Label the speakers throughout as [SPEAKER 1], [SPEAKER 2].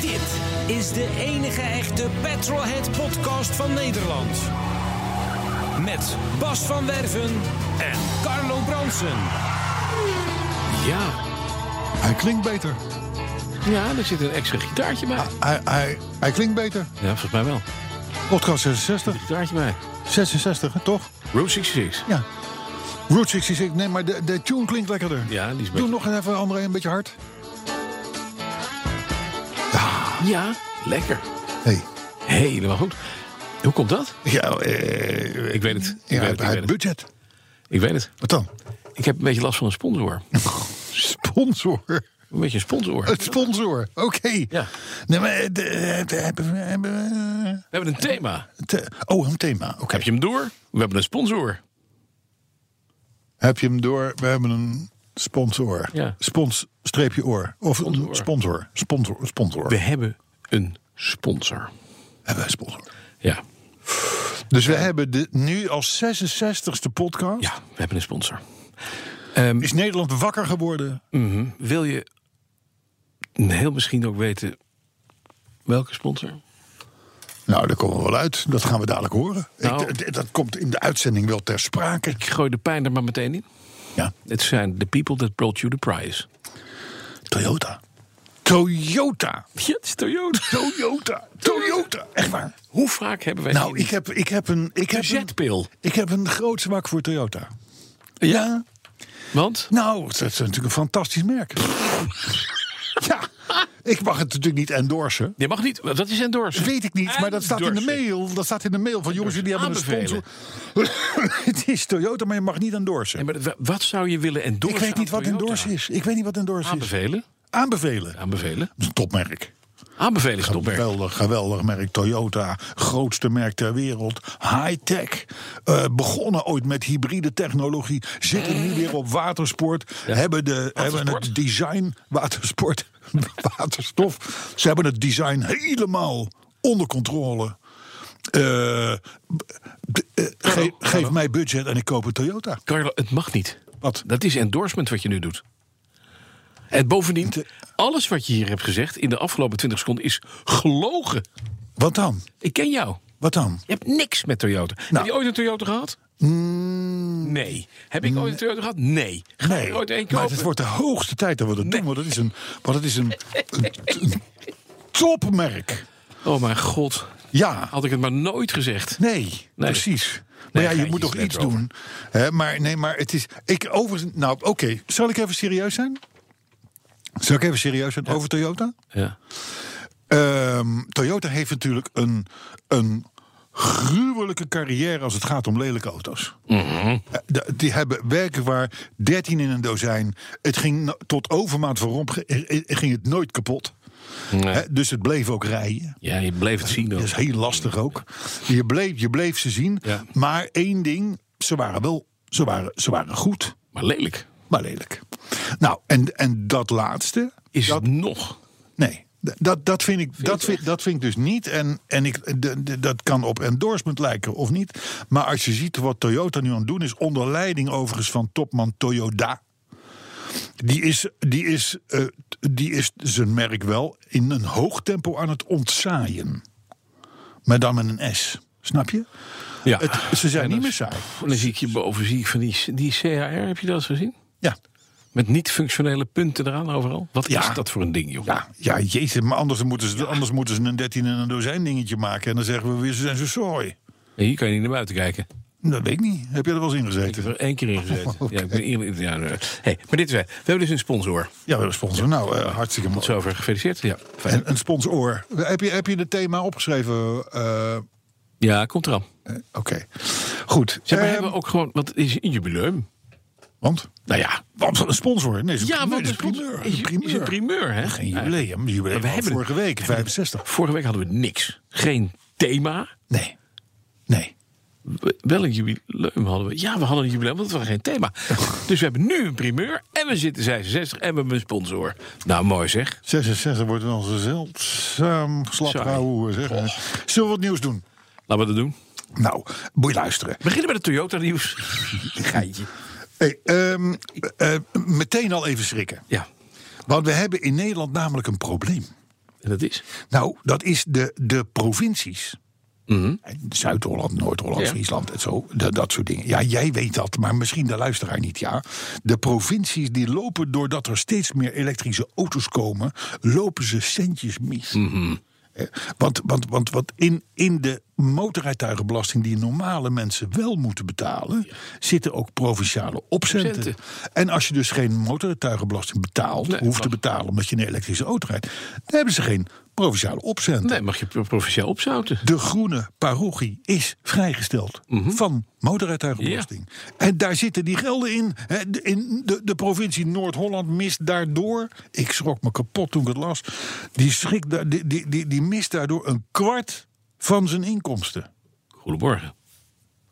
[SPEAKER 1] Dit is de enige echte Petrolhead podcast van Nederland. Met Bas van Werven en Carlo Bronsen.
[SPEAKER 2] Ja.
[SPEAKER 3] Hij klinkt beter.
[SPEAKER 2] Ja, er zit een extra gitaartje bij.
[SPEAKER 3] Hij, hij, hij klinkt beter.
[SPEAKER 2] Ja, volgens mij wel.
[SPEAKER 3] Podcast 66.
[SPEAKER 2] Gitaartje bij.
[SPEAKER 3] 66, hè, toch?
[SPEAKER 2] Room 66.
[SPEAKER 3] Ja. Route 66. Nee, maar de, de tune klinkt lekkerder.
[SPEAKER 2] Ja, die is
[SPEAKER 3] Doe
[SPEAKER 2] beter.
[SPEAKER 3] nog eens even, André, een beetje hard.
[SPEAKER 2] Ja, lekker.
[SPEAKER 3] Hey.
[SPEAKER 2] Helemaal goed. Hoe komt dat?
[SPEAKER 3] Ja, eh,
[SPEAKER 2] Ik weet het. Ik
[SPEAKER 3] ja,
[SPEAKER 2] weet het. Ik
[SPEAKER 3] hij heeft
[SPEAKER 2] weet het.
[SPEAKER 3] budget.
[SPEAKER 2] Ik weet het.
[SPEAKER 3] Wat dan?
[SPEAKER 2] Ik heb een beetje last van een sponsor.
[SPEAKER 3] Sponsor.
[SPEAKER 2] Een beetje een sponsor.
[SPEAKER 3] Het sponsor. Oké.
[SPEAKER 2] Ja.
[SPEAKER 3] Nee, maar... eh, de- de- hebben we- hebben we- eh,
[SPEAKER 2] We hebben een thema.
[SPEAKER 3] te- Oh, een thema. Oké.
[SPEAKER 2] Heb je hem door? We hebben een sponsor.
[SPEAKER 3] Heb je hem door? We hebben een sponsor.
[SPEAKER 2] Ja.
[SPEAKER 3] Spons streepje oor. Of een
[SPEAKER 2] Sponsor.
[SPEAKER 3] sponsor. Sponsor. Sponsor.
[SPEAKER 2] We hebben een sponsor.
[SPEAKER 3] Hebben we een sponsor.
[SPEAKER 2] Ja.
[SPEAKER 3] Dus we hebben de, nu als 66ste podcast.
[SPEAKER 2] Ja, we hebben een sponsor.
[SPEAKER 3] Is Nederland wakker geworden?
[SPEAKER 2] Wil je heel misschien ook weten welke sponsor?
[SPEAKER 3] Nou, daar komen we wel uit. Dat gaan we dadelijk horen.
[SPEAKER 2] Nou.
[SPEAKER 3] Ik- d- dat komt in de uitzending wel ter sprake.
[SPEAKER 2] Ik gooi de pijn er maar meteen in.
[SPEAKER 3] Ja,
[SPEAKER 2] Het zijn The People That Brought You The Prize.
[SPEAKER 3] Toyota. Toyota.
[SPEAKER 2] Ja, het is Toyota.
[SPEAKER 3] Toyota. Toyota. Echt waar.
[SPEAKER 2] Hoe vaak hebben wij
[SPEAKER 3] Nou,
[SPEAKER 2] die
[SPEAKER 3] ik heb, ik heb een... Ik heb een,
[SPEAKER 2] budgetpil?
[SPEAKER 3] ik heb een groot zwak voor Toyota. ja.
[SPEAKER 2] Want?
[SPEAKER 3] Nou, dat is natuurlijk een fantastisch merk. ja, ik mag het natuurlijk niet endorsen.
[SPEAKER 2] Je mag niet. Dat is endorsen.
[SPEAKER 3] Weet ik niet, maar dat staat in de
[SPEAKER 2] Endorsen.
[SPEAKER 3] mail. Dat staat in de mail van jongens, jullie hebben een sponsor.
[SPEAKER 2] Aanbevelen.
[SPEAKER 3] het is Toyota, maar je mag niet endorsen.
[SPEAKER 2] Nee, maar wa- wat zou je willen endorsen?
[SPEAKER 3] Ik weet niet
[SPEAKER 2] aan
[SPEAKER 3] wat
[SPEAKER 2] Toyota?
[SPEAKER 3] endorsen is. Ik weet niet wat endorsen is.
[SPEAKER 2] Aanbevelen.
[SPEAKER 3] Aanbevelen. Dat
[SPEAKER 2] Aanbevelen.
[SPEAKER 3] is een topmerk.
[SPEAKER 2] Aanbevelen is het opmerk.
[SPEAKER 3] Geweldig, geweldig merk. Toyota, grootste merk ter wereld. High-tech. Eh, begonnen ooit met hybride technologie. Zitten nu weer op watersport. Hebben, de, hebben het design. Watersport. waterstof. Ze hebben het design helemaal onder controle. Eh, b- d- eh, geef, geef mij budget en ik koop een Toyota.
[SPEAKER 2] Carlo, het mag niet.
[SPEAKER 3] Wat?
[SPEAKER 2] Dat is endorsement wat je nu doet. En bovendien, alles wat je hier hebt gezegd in de afgelopen 20 seconden is gelogen.
[SPEAKER 3] Wat dan?
[SPEAKER 2] Ik ken jou.
[SPEAKER 3] Wat dan?
[SPEAKER 2] Je hebt niks met Toyota.
[SPEAKER 3] Nou.
[SPEAKER 2] Heb je ooit een Toyota gehad? nee. Heb ik ooit een Toyota gehad? Nee. Ga
[SPEAKER 3] Mm. Nee,
[SPEAKER 2] je ooit een kopen?
[SPEAKER 3] maar het wordt de hoogste tijd dat we dat doen. Want het is een, want het is een, een, een topmerk.
[SPEAKER 2] Oh mijn god.
[SPEAKER 3] Ja,
[SPEAKER 2] Had ik het maar nooit gezegd.
[SPEAKER 3] nee,
[SPEAKER 2] Nee.
[SPEAKER 3] precies. Maar
[SPEAKER 2] Nee,
[SPEAKER 3] ja, je
[SPEAKER 2] geintjes
[SPEAKER 3] moet toch iets
[SPEAKER 2] erover.
[SPEAKER 3] doen. Hè, maar nee, maar het is... Ik over, nou, oké, zal ik even serieus zijn? Zal ik even serieus zijn over Toyota?
[SPEAKER 2] Ja.
[SPEAKER 3] Ehm, Toyota heeft natuurlijk een, een gruwelijke carrière als het gaat om lelijke auto's.
[SPEAKER 2] Mhm.
[SPEAKER 3] Eh, de- Die hebben werkelijk waar 13 in een dozijn. Het ging no- tot overmaat van romp, ge- eh, eh, ging het nooit kapot. Hè, dus het bleef ook rijden.
[SPEAKER 2] ja, je bleef het zien.
[SPEAKER 3] Dat
[SPEAKER 2] ook.
[SPEAKER 3] is heel lastig ook. Je bleef, je bleef ze zien.
[SPEAKER 2] Ja.
[SPEAKER 3] Maar één ding, ze waren wel ze waren, ze waren goed,
[SPEAKER 2] Maar lelijk.
[SPEAKER 3] maar lelijk. Nou, en, en dat laatste,
[SPEAKER 2] Is het nog?
[SPEAKER 3] Nee. d- Dat, dat, vind ik, dat, vind, dat vind ik dus niet. En, en ik, de- de- dat kan op endorsement lijken of niet. Maar als je ziet wat Toyota nu aan het doen is. onder leiding overigens van topman Toyoda. Die is, die is, eh, t- die is zijn merk wel in een hoog tempo aan het ontzaaien. Maar dan met een S. Snap je?
[SPEAKER 2] Ja.
[SPEAKER 3] Het, ze zijn
[SPEAKER 2] En
[SPEAKER 3] niet
[SPEAKER 2] dan-
[SPEAKER 3] meer saai.
[SPEAKER 2] En dan zie ik je boven zie ik van die, die CHR. Heb je dat eens gezien?
[SPEAKER 3] Ja.
[SPEAKER 2] Met niet-functionele punten eraan overal. Wat
[SPEAKER 3] Ja.
[SPEAKER 2] is dat voor een ding, joh?
[SPEAKER 3] Ja, Ah, ja, jezus, maar anders moeten, ze, anders moeten ze een 13 en een dozijn dingetje maken. En dan zeggen we weer, ze zijn zo saai.
[SPEAKER 2] En Hier kan je niet naar buiten kijken.
[SPEAKER 3] Dat weet ik niet. Heb je er wel eens in
[SPEAKER 2] Ik
[SPEAKER 3] gezeten?
[SPEAKER 2] heb er één keer in gezeten. ja, ik ben eerlijk- ja, nee. hey, maar dit is wij. We hebben dus een sponsor.
[SPEAKER 3] Ja, we hebben sponsor. Nou, eh, hartstikke mooi.
[SPEAKER 2] Tot zover gefeliciteerd. Ja, fijn.
[SPEAKER 3] En een sponsor. Heb je, heb je het thema opgeschreven? Eh, eh,
[SPEAKER 2] ja komt eraan.
[SPEAKER 3] Oké. Goed.
[SPEAKER 2] Zeg, maar
[SPEAKER 3] Ehm,
[SPEAKER 2] hebben we ook gewoon, want het is een jubileum.
[SPEAKER 3] Want?
[SPEAKER 2] Nou ja,
[SPEAKER 3] Want een sponsor. Nee, is een
[SPEAKER 2] ja
[SPEAKER 3] primeur,
[SPEAKER 2] want
[SPEAKER 3] is een primeur.
[SPEAKER 2] Is,
[SPEAKER 3] Is een primeur.
[SPEAKER 2] is een primeur, hè?
[SPEAKER 3] Geen jubileum. jubileum
[SPEAKER 2] we hebben-
[SPEAKER 3] vorige week, 65.
[SPEAKER 2] Vorige week hadden we niks. Geen thema.
[SPEAKER 3] Nee. Nee.
[SPEAKER 2] We- Wel een jubileum hadden we. Ja, we hadden een jubileum, want het was geen thema. Dus we hebben nu een primeur. En we zitten 66 en we hebben een sponsor. Nou, mooi zeg.
[SPEAKER 3] 66 wordt wel zo zeldzaam slaprauw, zeg. Zullen we wat nieuws doen?
[SPEAKER 2] Laten we dat doen.
[SPEAKER 3] Nou, moet je luisteren.
[SPEAKER 2] We beginnen met het Toyota-nieuws. Geintje.
[SPEAKER 3] Hey, ehm, eh, meteen al even schrikken.
[SPEAKER 2] Ja,
[SPEAKER 3] Want we hebben in Nederland namelijk een probleem.
[SPEAKER 2] en dat is.
[SPEAKER 3] Nou, dat is de, de provincies. Zuid-Holland, Noord-Holland,
[SPEAKER 2] Mhm. Ja.
[SPEAKER 3] Friesland en zo. Dat, dat soort dingen. Ja, jij weet dat, maar misschien de luisteraar niet, ja. De provincies die lopen doordat er steeds meer elektrische auto's komen... lopen ze centjes mis.
[SPEAKER 2] Mhm.
[SPEAKER 3] Eh, Want, want, want, want in, in de motorrijtuigenbelasting die normale mensen wel moeten betalen... zitten ook provinciale opzetten.
[SPEAKER 2] Opzetten.
[SPEAKER 3] En als je dus geen motorrijtuigenbelasting betaalt...
[SPEAKER 2] Nee,
[SPEAKER 3] hoeft te
[SPEAKER 2] mag-
[SPEAKER 3] betalen omdat je een elektrische auto rijdt... dan hebben ze geen provinciale opzet.
[SPEAKER 2] Nee, mag je pro- provinciaal opzouten.
[SPEAKER 3] De groene parochie is vrijgesteld
[SPEAKER 2] Mhm.
[SPEAKER 3] van motorrijtuigenbelasting. En daar zitten die gelden in. Hè, de- in de, de provincie Noord-Holland mist daardoor... Ik schrok me kapot toen ik het las. Die, schrik, daar- die, die, die, die mist daardoor een kwart van zijn inkomsten.
[SPEAKER 2] Goedemorgen.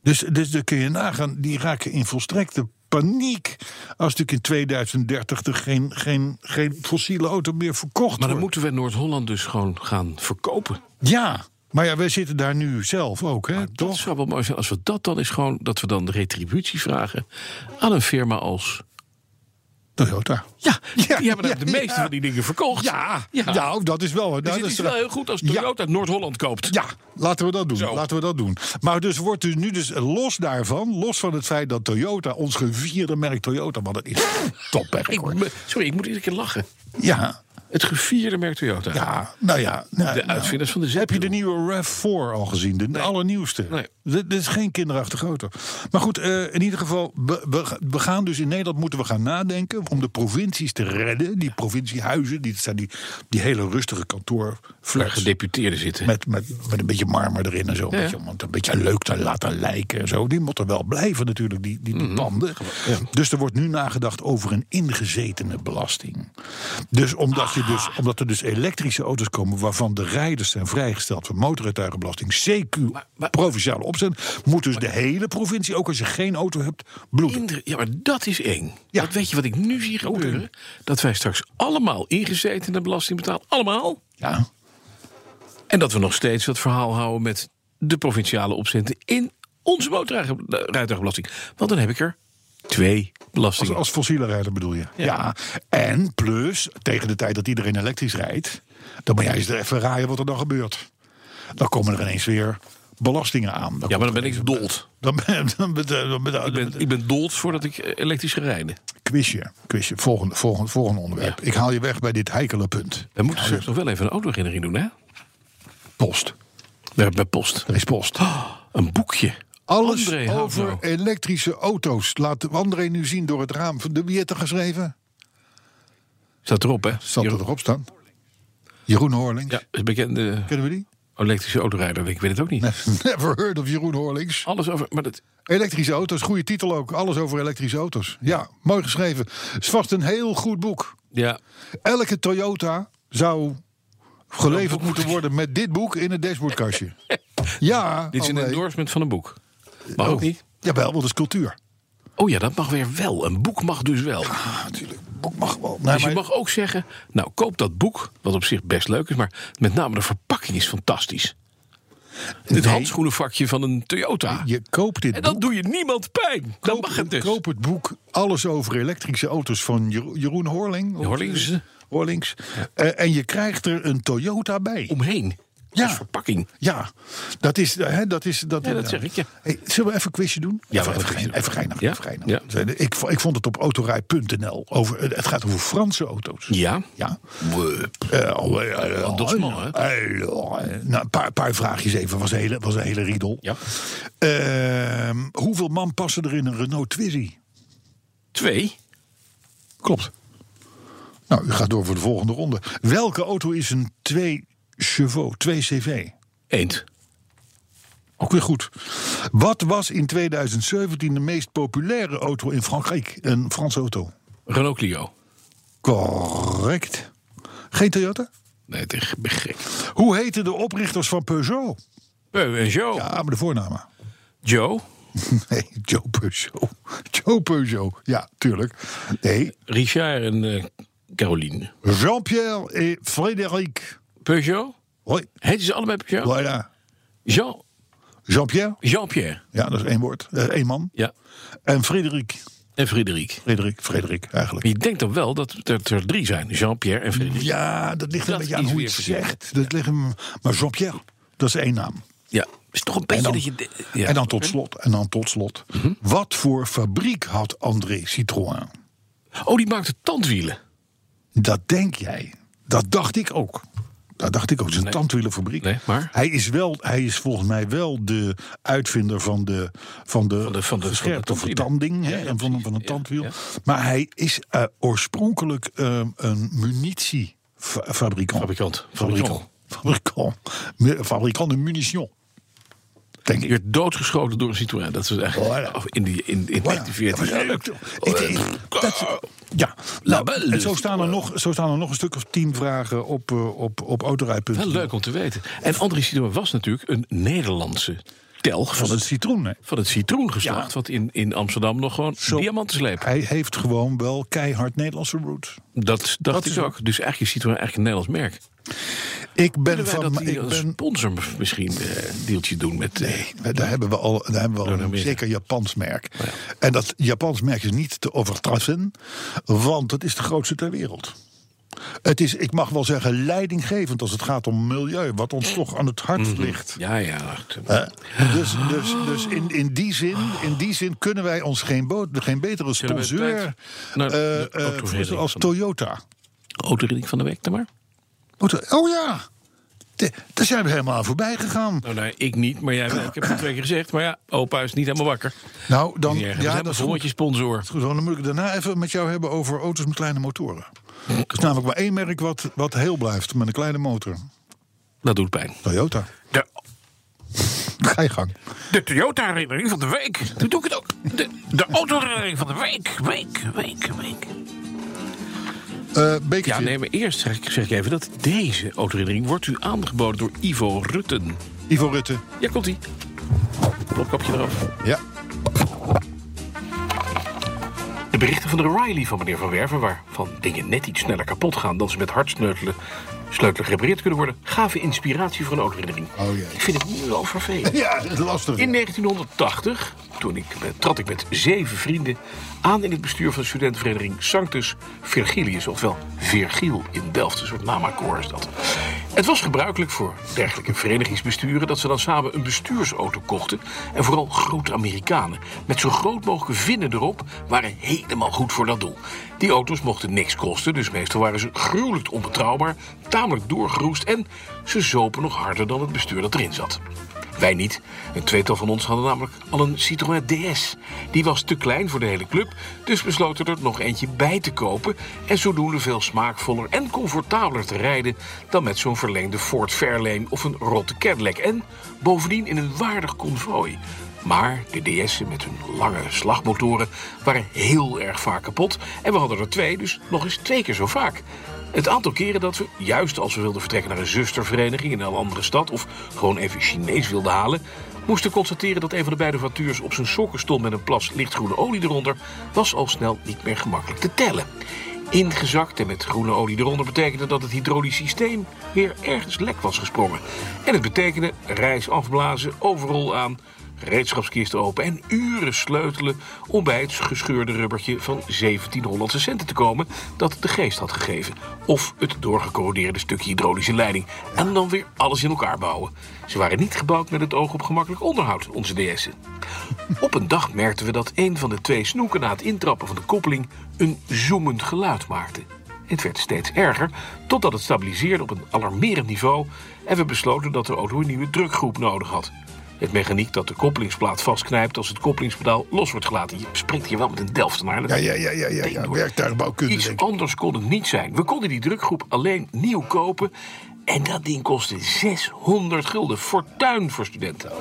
[SPEAKER 3] Dus, dus dan kun je nagaan, die raken in volstrekte paniek... als natuurlijk in 2030 er geen, geen, geen fossiele auto meer verkocht
[SPEAKER 2] Maar dan
[SPEAKER 3] wordt.
[SPEAKER 2] moeten we Noord-Holland dus gewoon gaan verkopen.
[SPEAKER 3] Ja, maar ja, wij zitten daar nu zelf ook, hè,
[SPEAKER 2] Het
[SPEAKER 3] toch?
[SPEAKER 2] zou wel mooi zijn als we dat dan is gewoon dat we dan de retributie vragen aan een firma als.
[SPEAKER 3] Toyota.
[SPEAKER 2] Ja,
[SPEAKER 3] Ja,
[SPEAKER 2] die hebben
[SPEAKER 3] ja,
[SPEAKER 2] namelijk de meeste
[SPEAKER 3] ja.
[SPEAKER 2] van die dingen verkocht.
[SPEAKER 3] Ja,
[SPEAKER 2] ja.
[SPEAKER 3] ja. dat is wel... nou,
[SPEAKER 2] Dus
[SPEAKER 3] dat
[SPEAKER 2] het
[SPEAKER 3] is
[SPEAKER 2] is wel heel goed als Toyota uit Noord-Holland koopt.
[SPEAKER 3] Ja, laten we dat doen.
[SPEAKER 2] Zo.
[SPEAKER 3] Laten we dat doen. Maar dus wordt dus nu dus los daarvan, los van het feit dat Toyota, ons gevierde merk Toyota, want dat is topmerk
[SPEAKER 2] Ik
[SPEAKER 3] hoor.
[SPEAKER 2] me- sorry, ik moet iedere keer lachen.
[SPEAKER 3] Ja,
[SPEAKER 2] Het gevierde merk Toyota.
[SPEAKER 3] ja, nou ja. nou,
[SPEAKER 2] De
[SPEAKER 3] nou.
[SPEAKER 2] uitvinders van de
[SPEAKER 3] Heb je de
[SPEAKER 2] Zetwiel.
[SPEAKER 3] nieuwe RAV4 al gezien? De allernieuwste.
[SPEAKER 2] Nee.
[SPEAKER 3] Dit, dit is geen kinderachtige auto. Maar goed, eh, in ieder geval, we, we, we gaan dus in Nederland moeten we gaan nadenken om de provincies te redden. Die provinciehuizen, die dat zijn die, die hele rustige
[SPEAKER 2] Waar
[SPEAKER 3] kantoorflats.
[SPEAKER 2] gedeputeerden zitten.
[SPEAKER 3] Met, met, met een beetje marmer erin en zo. Een,
[SPEAKER 2] Ja.
[SPEAKER 3] beetje, om het een beetje leuk te laten lijken en zo. Die moeten wel blijven natuurlijk, die, die, die
[SPEAKER 2] Mhm.
[SPEAKER 3] panden. Dus er wordt nu nagedacht over een ingezetene belasting. Dus omdat, je dus
[SPEAKER 2] Ah.
[SPEAKER 3] omdat er dus elektrische auto's komen... waarvan de rijders zijn vrijgesteld van motorrijtuigenbelasting... CQ,
[SPEAKER 2] maar-
[SPEAKER 3] provinciale opzet... moet dus de hele provincie, ook als je geen auto hebt, bloeden.
[SPEAKER 2] Inder- Ja, maar dat is eng.
[SPEAKER 3] Ja.
[SPEAKER 2] Want weet je wat ik nu zie gebeuren? Dat wij straks allemaal ingezeten de belasting betalen. Allemaal.
[SPEAKER 3] Ja,
[SPEAKER 2] En dat we nog steeds dat verhaal houden met de provinciale opzetten in onze motorrijtuigbelasting. Want dan heb ik er twee
[SPEAKER 3] als,
[SPEAKER 2] belastingen.
[SPEAKER 3] als fossiele rijder bedoel je. Ja. En plus, tegen de tijd dat iedereen elektrisch rijdt... dan moet jij eens er even raaien wat er dan gebeurt. Dan komen er ineens weer belastingen aan. Dan
[SPEAKER 2] ja, maar dan ben ik dold.
[SPEAKER 3] Dan ben dan ben- dan ben-
[SPEAKER 2] Ik ben, ik ben dold voordat ik eh, elektrisch ga rijden.
[SPEAKER 3] Quizje, quizje. Volgende, volgende, volgende onderwerp. Ik haal je weg bij dit heikele punt.
[SPEAKER 2] We moeten straks nog wel even een autoherinnering doen, hè?
[SPEAKER 3] Post.
[SPEAKER 2] Bij, bij post.
[SPEAKER 3] Er is post.
[SPEAKER 2] Oh, een boekje.
[SPEAKER 3] Alles
[SPEAKER 2] André
[SPEAKER 3] over
[SPEAKER 2] Havro.
[SPEAKER 3] elektrische auto's. Laat André nu zien door het raam. van De, wie heeft er geschreven?
[SPEAKER 2] Staat erop, hè?
[SPEAKER 3] Zal er
[SPEAKER 2] Jeroen-
[SPEAKER 3] erop staan? Jeroen Horling.
[SPEAKER 2] Ja, een bekende
[SPEAKER 3] Kennen we die?
[SPEAKER 2] elektrische autorijder. Ik weet het ook niet.
[SPEAKER 3] Never heard of Jeroen Horlings.
[SPEAKER 2] Alles over... Maar dat,
[SPEAKER 3] Elektrische auto's, goede titel ook. Alles over elektrische auto's. Ja, mooi geschreven. Is vast een heel goed boek.
[SPEAKER 2] ja,
[SPEAKER 3] Elke Toyota zou geleverd moeten worden met dit boek in het dashboardkastje. Ja,
[SPEAKER 2] dit is een
[SPEAKER 3] André.
[SPEAKER 2] endorsement van een boek. Mag
[SPEAKER 3] Oh.
[SPEAKER 2] ook niet.
[SPEAKER 3] Jawel, want dat is cultuur.
[SPEAKER 2] Oh ja, dat mag weer wel. Een boek mag dus wel.
[SPEAKER 3] Ah, natuurlijk. Boek mag wel.
[SPEAKER 2] Dus je mag ook zeggen, nou koop dat boek, wat op zich best leuk is, maar met name de verpakking is fantastisch. Het handschoenenvakje van een Toyota.
[SPEAKER 3] Je koopt dit
[SPEAKER 2] En
[SPEAKER 3] boek.
[SPEAKER 2] dan doe je niemand pijn. Dan
[SPEAKER 3] Koop-
[SPEAKER 2] mag het dus.
[SPEAKER 3] Koop het boek Alles over elektrische auto's van Jero- Jeroen Horling. Of-
[SPEAKER 2] Horlings.
[SPEAKER 3] Horlings. Eh, en je krijgt er een Toyota bij.
[SPEAKER 2] Omheen.
[SPEAKER 3] Ja.
[SPEAKER 2] Als verpakking.
[SPEAKER 3] Ja, dat is... Hè, dat, is dat,
[SPEAKER 2] Ja, dat zeg ik, ja.
[SPEAKER 3] Hey, zullen we even een quizje doen?
[SPEAKER 2] Ja,
[SPEAKER 3] even,
[SPEAKER 2] we gaan
[SPEAKER 3] even,
[SPEAKER 2] een
[SPEAKER 3] gein- even geinig.
[SPEAKER 2] Ja?
[SPEAKER 3] even geinig.
[SPEAKER 2] Ja.
[SPEAKER 3] Ik, vo- ik vond het op autorij.nl. Over, eh, het gaat over Franse auto's.
[SPEAKER 2] Ja.
[SPEAKER 3] Ja.
[SPEAKER 2] Bleh.
[SPEAKER 3] Eh, oh, eh, eh,
[SPEAKER 2] dat is mal, hè?
[SPEAKER 3] eh, oh, eh. Nou, een paar, paar vraagjes even. Was een hele, was een hele riedel.
[SPEAKER 2] Ja.
[SPEAKER 3] Ehm, hoeveel man passen er in een Renault Twizy?
[SPEAKER 2] Twee.
[SPEAKER 3] Klopt. Nou, u gaat door voor de volgende ronde. Welke auto is een 2 Chevaux, 2 CV?
[SPEAKER 2] Eend.
[SPEAKER 3] Ook weer goed. Wat was in 2017 de meest populaire auto in Frankrijk? Een Franse auto.
[SPEAKER 2] Renault Clio.
[SPEAKER 3] Correct. Geen Toyota?
[SPEAKER 2] Nee, tegen ben gek.
[SPEAKER 3] Hoe heten de oprichters van Peugeot?
[SPEAKER 2] Peu en Joe.
[SPEAKER 3] Ja, maar de voornamen.
[SPEAKER 2] Joe.
[SPEAKER 3] Nee, Joe Peugeot. Joe Peugeot. Ja, tuurlijk. Nee,
[SPEAKER 2] Richard en eh, Caroline.
[SPEAKER 3] Jean-Pierre en Frédéric.
[SPEAKER 2] Peugeot?
[SPEAKER 3] Hoi.
[SPEAKER 2] Heet ze allebei Peugeot?
[SPEAKER 3] Voilà.
[SPEAKER 2] Jean,
[SPEAKER 3] Jean-Pierre?
[SPEAKER 2] Jean-Pierre.
[SPEAKER 3] Ja, dat is één woord. Eh, één man.
[SPEAKER 2] Ja.
[SPEAKER 3] En Frederik.
[SPEAKER 2] En Frederik.
[SPEAKER 3] Frederik, Frederik eigenlijk.
[SPEAKER 2] Je denkt dan wel dat er, er drie zijn. Jean-Pierre en Frederik.
[SPEAKER 3] Ja, dat ligt een
[SPEAKER 2] Dat
[SPEAKER 3] beetje aan
[SPEAKER 2] is
[SPEAKER 3] hoe je
[SPEAKER 2] weer
[SPEAKER 3] het
[SPEAKER 2] verkeerd.
[SPEAKER 3] zegt. Dat ligt hem, maar Jean-Pierre, dat is één naam.
[SPEAKER 2] Ja. Is toch een
[SPEAKER 3] En
[SPEAKER 2] beetje
[SPEAKER 3] dan,
[SPEAKER 2] dat je... de- Ja. Mhm.
[SPEAKER 3] en dan tot slot, en dan tot slot. Wat voor fabriek had André Citroën?
[SPEAKER 2] Oh, die maakte tandwielen.
[SPEAKER 3] Dat denk jij. Dat dacht ik ook. Dat dacht ik ook. Het is een tandwielenfabriek.
[SPEAKER 2] Nee, maar?
[SPEAKER 3] Hij is, wel, hij is volgens mij wel de uitvinder van de, van de,
[SPEAKER 2] de- van de-
[SPEAKER 3] gescherpte
[SPEAKER 2] van de
[SPEAKER 3] vertanding. hè,
[SPEAKER 2] ja,
[SPEAKER 3] en van, van een tandwiel. Maar hij is eh, oorspronkelijk eh, een munitiefabrikant.
[SPEAKER 2] Fabrikant.
[SPEAKER 3] Fabrikant. Fabrikant. Mu- Fabrikant de munition. Denk
[SPEAKER 2] Je
[SPEAKER 3] ik.
[SPEAKER 2] werd doodgeschoten door een Citroën. Dat was eigenlijk
[SPEAKER 3] Voilà.
[SPEAKER 2] oh, in, die, in, Oh, in
[SPEAKER 3] Ja, dat was
[SPEAKER 2] 1940.
[SPEAKER 3] heel leuk, toch? Ik- ik- dat- Ja,
[SPEAKER 2] La
[SPEAKER 3] nou,
[SPEAKER 2] belle.
[SPEAKER 3] en zo staan, er nog, zo staan er nog een stuk of tien vragen op, eh, op, op autorij.nl.
[SPEAKER 2] Wel leuk om te weten. En André Citroën was natuurlijk een Nederlandse telg van
[SPEAKER 3] van het
[SPEAKER 2] het,
[SPEAKER 3] citroen. hè.
[SPEAKER 2] van het citroengeslacht...
[SPEAKER 3] Ja.
[SPEAKER 2] wat in, in Amsterdam nog gewoon
[SPEAKER 3] Zo.
[SPEAKER 2] diamanten sleept.
[SPEAKER 3] Hij heeft gewoon wel keihard Nederlandse roots.
[SPEAKER 2] Dat dacht
[SPEAKER 3] is
[SPEAKER 2] ik ook. Dus eigenlijk is Citroën eigenlijk een Nederlands merk.
[SPEAKER 3] Ik ben
[SPEAKER 2] Kunnen wij dat
[SPEAKER 3] van.
[SPEAKER 2] die
[SPEAKER 3] Ik
[SPEAKER 2] als
[SPEAKER 3] ben,
[SPEAKER 2] sponsor misschien eh deeltje doen met... eh,
[SPEAKER 3] nee, daar hebben we al, daar hebben we al een
[SPEAKER 2] Amerika.
[SPEAKER 3] zeker Japans merk.
[SPEAKER 2] Oh
[SPEAKER 3] En dat Japans merk is niet te overtreffen, want het is de grootste ter wereld. Het is, ik mag wel zeggen, leidinggevend als het gaat om milieu, wat ons toch aan het hart
[SPEAKER 2] Mhm.
[SPEAKER 3] ligt.
[SPEAKER 2] Ja, ja. het-
[SPEAKER 3] Hè? Dus, dus, dus in, in, die zin, in die zin kunnen wij ons geen, boot, geen betere
[SPEAKER 2] Zullen we
[SPEAKER 3] sponsor
[SPEAKER 2] tijd naar de
[SPEAKER 3] eh, eh,
[SPEAKER 2] autoherinnering
[SPEAKER 3] voorstellen als
[SPEAKER 2] van-
[SPEAKER 3] Toyota.
[SPEAKER 2] Autorinning van de week dan maar.
[SPEAKER 3] Moet- Oh ja, De- daar zijn we helemaal aan voorbij gegaan.
[SPEAKER 2] Nou, nee, ik niet, maar jij wel. Ik heb het twee keer gezegd. Maar ja, opa is niet helemaal wakker.
[SPEAKER 3] Nou, dan,
[SPEAKER 2] Ja,
[SPEAKER 3] ja, dat is goed.
[SPEAKER 2] je sponsor.
[SPEAKER 3] Goed, dan moet ik het daarna even met jou hebben over auto's met kleine motoren. Er is namelijk maar één merk wat, wat heel blijft met een kleine motor.
[SPEAKER 2] Dat doet pijn.
[SPEAKER 3] Toyota.
[SPEAKER 2] De,
[SPEAKER 3] Ga je gang.
[SPEAKER 2] de Toyota-herinnering van de week. Toen doe ik het ook. De, de auto-herinnering van de week. Week, week, week.
[SPEAKER 3] Eh bekertje.
[SPEAKER 2] Ja, nee, maar eerst zeg, ik- zeg ik even dat deze auto-herinnering wordt u aangeboden door Ivo Rutten.
[SPEAKER 3] Ivo Rutte.
[SPEAKER 2] Ja, komt-ie. Plopkapje eraf.
[SPEAKER 3] Ja.
[SPEAKER 2] De berichten van de Riley van meneer Van Werven, waarvan dingen net iets sneller kapot gaan dan ze met hardsneutelen sleutelen gerepareerd kunnen worden, gaven inspiratie voor een autoherinnering.
[SPEAKER 3] Oh, jee.
[SPEAKER 2] Ik vind het nu wel vervelend.
[SPEAKER 3] Ja, dat is lastig.
[SPEAKER 2] In 1980 toen ik, eh, trad ik met zeven vrienden aan in het bestuur van de studentenvereniging Sanctus Virgilius, oftewel Virgiel in Delft, een soort namakkoor is dat. Het was gebruikelijk voor dergelijke verenigingsbesturen dat ze dan samen een bestuursauto kochten. En vooral grote Amerikanen met zo groot mogelijke vinnen erop waren helemaal goed voor dat doel. Die auto's mochten niks kosten, dus meestal waren ze gruwelijk onbetrouwbaar, tamelijk doorgeroest en ze zopen nog harder dan het bestuur dat erin zat. Wij niet. Een tweetal van ons hadden namelijk al een Citroën DS. Die was te klein voor de hele club, dus besloten er nog eentje bij te kopen. En zodoende veel smaakvoller en comfortabeler te rijden dan met zo'n verlengde Ford Fairlane of een rotte Cadillac. En bovendien in een waardig convooi. Maar de DS'en met hun lange slagmotoren waren heel erg vaak kapot. En we hadden er twee, dus nog eens twee keer zo vaak. Het aantal keren dat we, juist als we wilden vertrekken naar een zustervereniging in een andere stad of gewoon even Chinees wilden halen, moesten constateren dat een van de beide voitures op zijn sokken stond met een plas lichtgroene olie eronder, was al snel niet meer gemakkelijk te tellen. Ingezakt en met groene olie eronder betekende dat het hydraulisch systeem weer ergens lek was gesprongen. En het betekende reis afblazen, overal aan, gereedschapskisten open en uren sleutelen om bij het gescheurde rubbertje van 17 Hollandse centen te komen dat de geest had gegeven. Of het doorgecorrodeerde stukje hydraulische leiding. En dan weer alles in elkaar bouwen. Ze waren niet gebouwd met het oog op gemakkelijk onderhoud, onze DS'en. Op een dag merkten we dat een van de twee snoeken na het intrappen van de koppeling een zoemend geluid maakte. Het werd steeds erger, totdat het stabiliseerde op een alarmerend niveau en we besloten dat de auto een nieuwe drukgroep nodig had. Het mechaniek dat de koppelingsplaat vastknijpt als het koppelingspedaal los wordt gelaten. Je spreekt hier wel met een Delftenaar.
[SPEAKER 3] Ja,
[SPEAKER 2] natuurlijk.
[SPEAKER 3] ja, ja, ja, ja, ja. werktuigbouwkunde.
[SPEAKER 2] Iets
[SPEAKER 3] denk ik.
[SPEAKER 2] anders kon het niet zijn. We konden die drukgroep alleen nieuw kopen. En dat ding kostte 600 gulden. Fortuin voor studenten.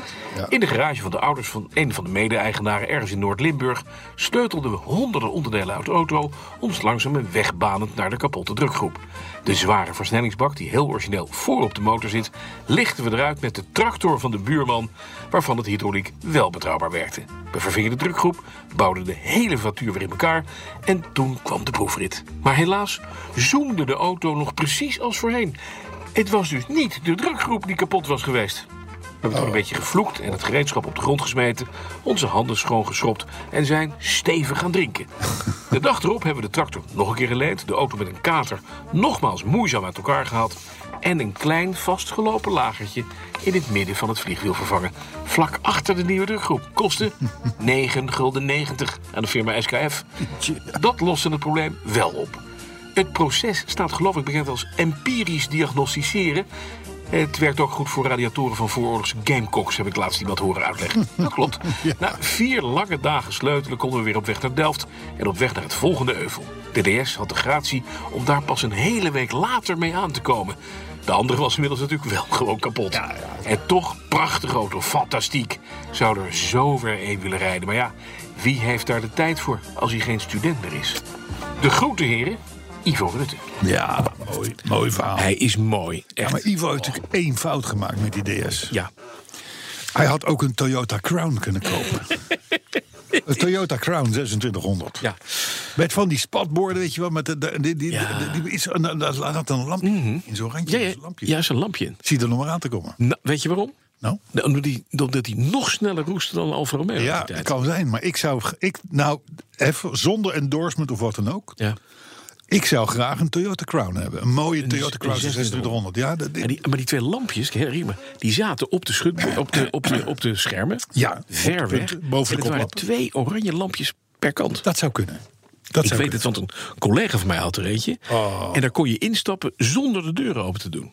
[SPEAKER 2] In de garage van de ouders van een van de mede-eigenaren ergens in Noord-Limburg sleutelden we honderden onderdelen uit de auto, ons langzaam een weg banend naar de kapotte drukgroep. De zware versnellingsbak, die heel origineel voor op de motor zit, lichten we eruit met de tractor van de buurman, waarvan het hydrauliek wel betrouwbaar werkte. We vervingen de drukgroep, bouwden de hele vatuur weer in elkaar en toen kwam de proefrit. Maar helaas zoomde de auto nog precies als voorheen. Het was dus niet de drukgroep die kapot was geweest. We hebben toen een beetje gevloekt en het gereedschap op de grond gesmeten, onze handen schoongeschropt en zijn stevig gaan drinken. De dag erop hebben we de tractor nog een keer geleend, de auto met een kater nogmaals moeizaam uit elkaar gehaald en een klein vastgelopen lagertje in het midden van het vliegwiel vervangen. Vlak achter de nieuwe drukgroep. Kostte 9 gulden 90 aan de firma SKF. Dat loste het probleem wel op. Het proces staat geloof ik bekend als empirisch diagnosticeren. Het werkt ook goed voor radiatoren van vooroorlogs Gamecocks, heb ik laatst iemand horen uitleggen. Dat klopt. Na vier lange dagen sleutelen konden we weer op weg naar Delft en op weg naar het volgende euvel. DDS had de gratie om daar pas een hele week later mee aan te komen. De andere was inmiddels natuurlijk wel gewoon kapot. En toch, prachtige auto, fantastiek. Zou er zo ver heen willen rijden. Maar ja, wie heeft daar de tijd voor als hij geen student meer is? De grote heren, Ivo Rutte.
[SPEAKER 3] Ja, mooi, mooi verhaal.
[SPEAKER 4] Hij is mooi.
[SPEAKER 3] Ja,
[SPEAKER 4] Echt.
[SPEAKER 3] maar Ivo heeft natuurlijk één fout gemaakt met die DS.
[SPEAKER 4] Ja.
[SPEAKER 3] Hij had ook een Toyota Crown kunnen kopen. Een Toyota Crown 2600.
[SPEAKER 4] Ja.
[SPEAKER 3] Met van die spatborden, weet je wel. Met de, de- die, die,
[SPEAKER 4] Ja.
[SPEAKER 3] die- die is, en dan- daar laat een lampje in zo'n randje.
[SPEAKER 4] Ja, ja,
[SPEAKER 3] zo'n lampje.
[SPEAKER 4] ja, is een lampje in.
[SPEAKER 3] Zie je er nog maar aan te komen.
[SPEAKER 4] Nou, weet je waarom?
[SPEAKER 3] Nou?
[SPEAKER 4] Nou, Omdat hij, omdat hij nog sneller roestte dan Alfa Romeo. in die
[SPEAKER 3] Ja, dat
[SPEAKER 4] tijd.
[SPEAKER 3] kan zijn. Maar ik zou, ik, nou, even zonder endorsement of wat dan ook.
[SPEAKER 4] Ja.
[SPEAKER 3] Ik zou graag een Toyota Crown hebben. Een mooie Toyota
[SPEAKER 4] een
[SPEAKER 3] Crown
[SPEAKER 4] 2600.
[SPEAKER 3] 2600. Ja, dat-
[SPEAKER 4] En die, maar die twee lampjes, ik herinner me, die zaten op de, schut, op de, op de, op de schermen.
[SPEAKER 3] Ja,
[SPEAKER 4] ver
[SPEAKER 3] op de
[SPEAKER 4] weg.
[SPEAKER 3] punten, boven
[SPEAKER 4] en
[SPEAKER 3] de
[SPEAKER 4] het waren
[SPEAKER 3] koplampen.
[SPEAKER 4] twee oranje lampjes per kant.
[SPEAKER 3] dat zou kunnen. Dat
[SPEAKER 4] ik
[SPEAKER 3] zou Oh.
[SPEAKER 4] weet het, want een collega van mij had er eentje. En daar kon je instappen zonder de deuren open te doen.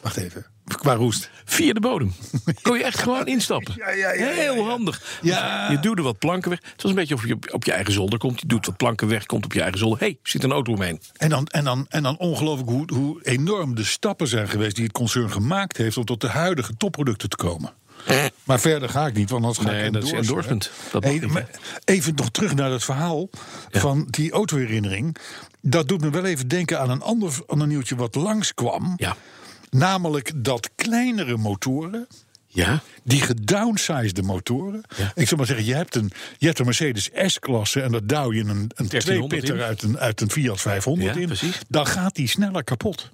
[SPEAKER 3] Wacht even. Qua roest.
[SPEAKER 4] Via de bodem. Kon je echt gewoon instappen.
[SPEAKER 3] Ja, ja, ja, ja,
[SPEAKER 4] Heel
[SPEAKER 3] ja.
[SPEAKER 4] handig. Dus
[SPEAKER 3] Ja.
[SPEAKER 4] Je duwde wat planken weg. Het was een beetje of je op je eigen zolder komt. Je doet wat planken weg, komt op je eigen zolder. Hé, hey, zit een auto omheen.
[SPEAKER 3] En dan, en dan, en dan ongelooflijk hoe, hoe enorm de stappen zijn geweest die het concern gemaakt heeft om tot de huidige topproducten te komen. Maar verder ga ik niet, want anders ga
[SPEAKER 4] Eh. Nee,
[SPEAKER 3] ik
[SPEAKER 4] dat is
[SPEAKER 3] endorsen, hè.
[SPEAKER 4] endorsement. Dat mag
[SPEAKER 3] Hey,
[SPEAKER 4] niet, hè.
[SPEAKER 3] maar even nog terug naar dat verhaal van die autoherinnering. Dat doet me wel even denken aan een ander aan een nieuwtje wat langskwam.
[SPEAKER 4] Ja.
[SPEAKER 3] Namelijk dat kleinere motoren,
[SPEAKER 4] Ja?
[SPEAKER 3] die gedownsized motoren.
[SPEAKER 4] Ja.
[SPEAKER 3] Ik zou maar zeggen, je hebt een, je hebt een Mercedes S-klasse en dat duw je een, een
[SPEAKER 4] 1300 in.
[SPEAKER 3] tweepitter uit een, uit een Fiat 500
[SPEAKER 4] Ja,
[SPEAKER 3] in.
[SPEAKER 4] precies.
[SPEAKER 3] Dan gaat die sneller kapot.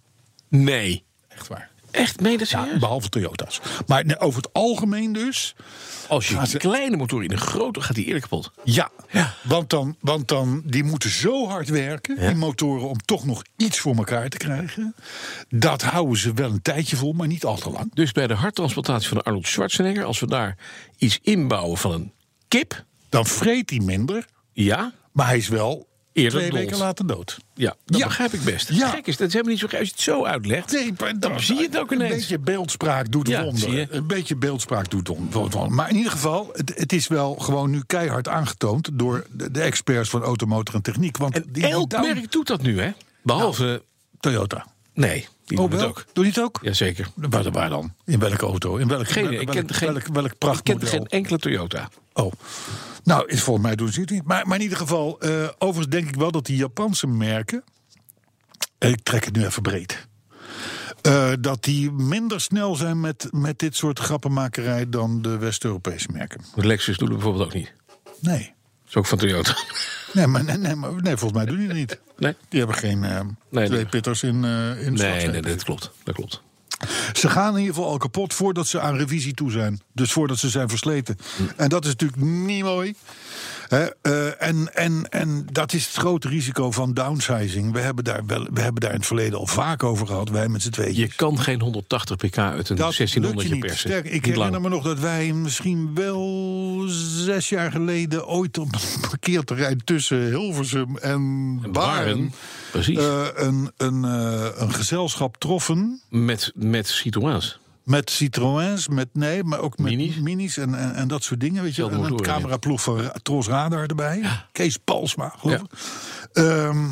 [SPEAKER 4] Nee.
[SPEAKER 3] Echt waar.
[SPEAKER 4] Echt, meen je dat
[SPEAKER 3] Ja,
[SPEAKER 4] serieus?
[SPEAKER 3] behalve Toyota's. Maar nee, over het algemeen dus,
[SPEAKER 4] Als je
[SPEAKER 3] Gaan
[SPEAKER 4] een
[SPEAKER 3] ze-
[SPEAKER 4] kleine motor in een grote, gaat die eerder kapot.
[SPEAKER 3] ja.
[SPEAKER 4] Ja.
[SPEAKER 3] Want, dan, want dan, die moeten zo hard werken, die motoren, om toch nog iets voor elkaar te krijgen. Dat houden ze wel een tijdje vol, maar niet al te lang.
[SPEAKER 4] Dus bij de harttransplantatie van Arnold Schwarzenegger, als we daar iets inbouwen van een kip,
[SPEAKER 3] Dan vreet hij minder,
[SPEAKER 4] ja,
[SPEAKER 3] maar hij is wel
[SPEAKER 4] Eerder
[SPEAKER 3] twee
[SPEAKER 4] dood.
[SPEAKER 3] weken later dood.
[SPEAKER 4] ja dat
[SPEAKER 3] Ja.
[SPEAKER 4] begrijp ik best.
[SPEAKER 3] Ja.
[SPEAKER 4] Gek is, dat is helemaal niet zo gek als je het zo uitlegt.
[SPEAKER 3] Nee, maar
[SPEAKER 4] Dan zie je het ook ineens.
[SPEAKER 3] Oh, nou, Een beetje beeldspraak doet
[SPEAKER 4] Ja, zie je.
[SPEAKER 3] wonderen. Een beetje beeldspraak doet on- wonderen. Maar in ieder geval, het, het is wel gewoon nu keihard aangetoond... door de, de experts van automotor en techniek. Want
[SPEAKER 4] En
[SPEAKER 3] die- die
[SPEAKER 4] elk
[SPEAKER 3] down-
[SPEAKER 4] merk doet dat nu, hè? Behalve,
[SPEAKER 3] Toyota.
[SPEAKER 4] nee, die
[SPEAKER 3] Oh,
[SPEAKER 4] doet het
[SPEAKER 3] wel?
[SPEAKER 4] ook.
[SPEAKER 3] Doe je het ook?
[SPEAKER 4] Jazeker.
[SPEAKER 3] Waar, waar dan? In welke auto? In welk,
[SPEAKER 4] Geen,
[SPEAKER 3] welk,
[SPEAKER 4] ik ken
[SPEAKER 3] welk,
[SPEAKER 4] geen,
[SPEAKER 3] welk, welk
[SPEAKER 4] ik ken
[SPEAKER 3] prachtmodel?
[SPEAKER 4] geen enkele Toyota.
[SPEAKER 3] Oh, nou, is, volgens mij doen ze het niet. Maar, maar in ieder geval, eh, overigens denk ik wel dat die Japanse merken... eh, Ik trek het nu even breed. eh, dat die minder snel zijn met, met dit soort grappenmakerij dan de West-Europese merken.
[SPEAKER 4] De Lexus doen we bijvoorbeeld ook niet.
[SPEAKER 3] Nee.
[SPEAKER 4] Dat is ook van Toyota.
[SPEAKER 3] Nee, maar, nee, nee, maar, nee volgens mij doen die dat niet.
[SPEAKER 4] Nee?
[SPEAKER 3] Die hebben geen eh,
[SPEAKER 4] nee.
[SPEAKER 3] twee pitters in, eh in de
[SPEAKER 4] Nee, nee,
[SPEAKER 3] slagzij.
[SPEAKER 4] dat klopt. Dat klopt.
[SPEAKER 3] Ze gaan in ieder geval al kapot voordat ze aan revisie toe zijn. Dus voordat ze zijn versleten.
[SPEAKER 4] Hm.
[SPEAKER 3] En dat is natuurlijk niet mooi. Hè, eh, en, en, en dat is het grote risico van downsizing. We hebben daar, wel, we hebben daar in het verleden al vaak over gehad, wij met z'n tweeën.
[SPEAKER 4] Je kan geen 180 pk uit een
[SPEAKER 3] Dat lukt
[SPEAKER 4] 1600
[SPEAKER 3] je niet.
[SPEAKER 4] persen.
[SPEAKER 3] Sterk, ik
[SPEAKER 4] Niet
[SPEAKER 3] herinner
[SPEAKER 4] lang.
[SPEAKER 3] me nog dat wij misschien wel zes jaar geleden ooit op een parkeerterrein tussen Hilversum en Baren
[SPEAKER 4] Baren, precies.
[SPEAKER 3] eh, een, een, eh, een gezelschap troffen.
[SPEAKER 4] Met, met Citroëns.
[SPEAKER 3] Met Citroëns, met nee, maar ook met
[SPEAKER 4] Minis.
[SPEAKER 3] minis, en, en, en dat soort dingen. Weet je,
[SPEAKER 4] Zelfde
[SPEAKER 3] en een
[SPEAKER 4] motoren, ja.
[SPEAKER 3] cameraploeg van Ra- Tros Radar erbij. Kees Palsma, geloof
[SPEAKER 4] Ja.
[SPEAKER 3] ik. Ehm,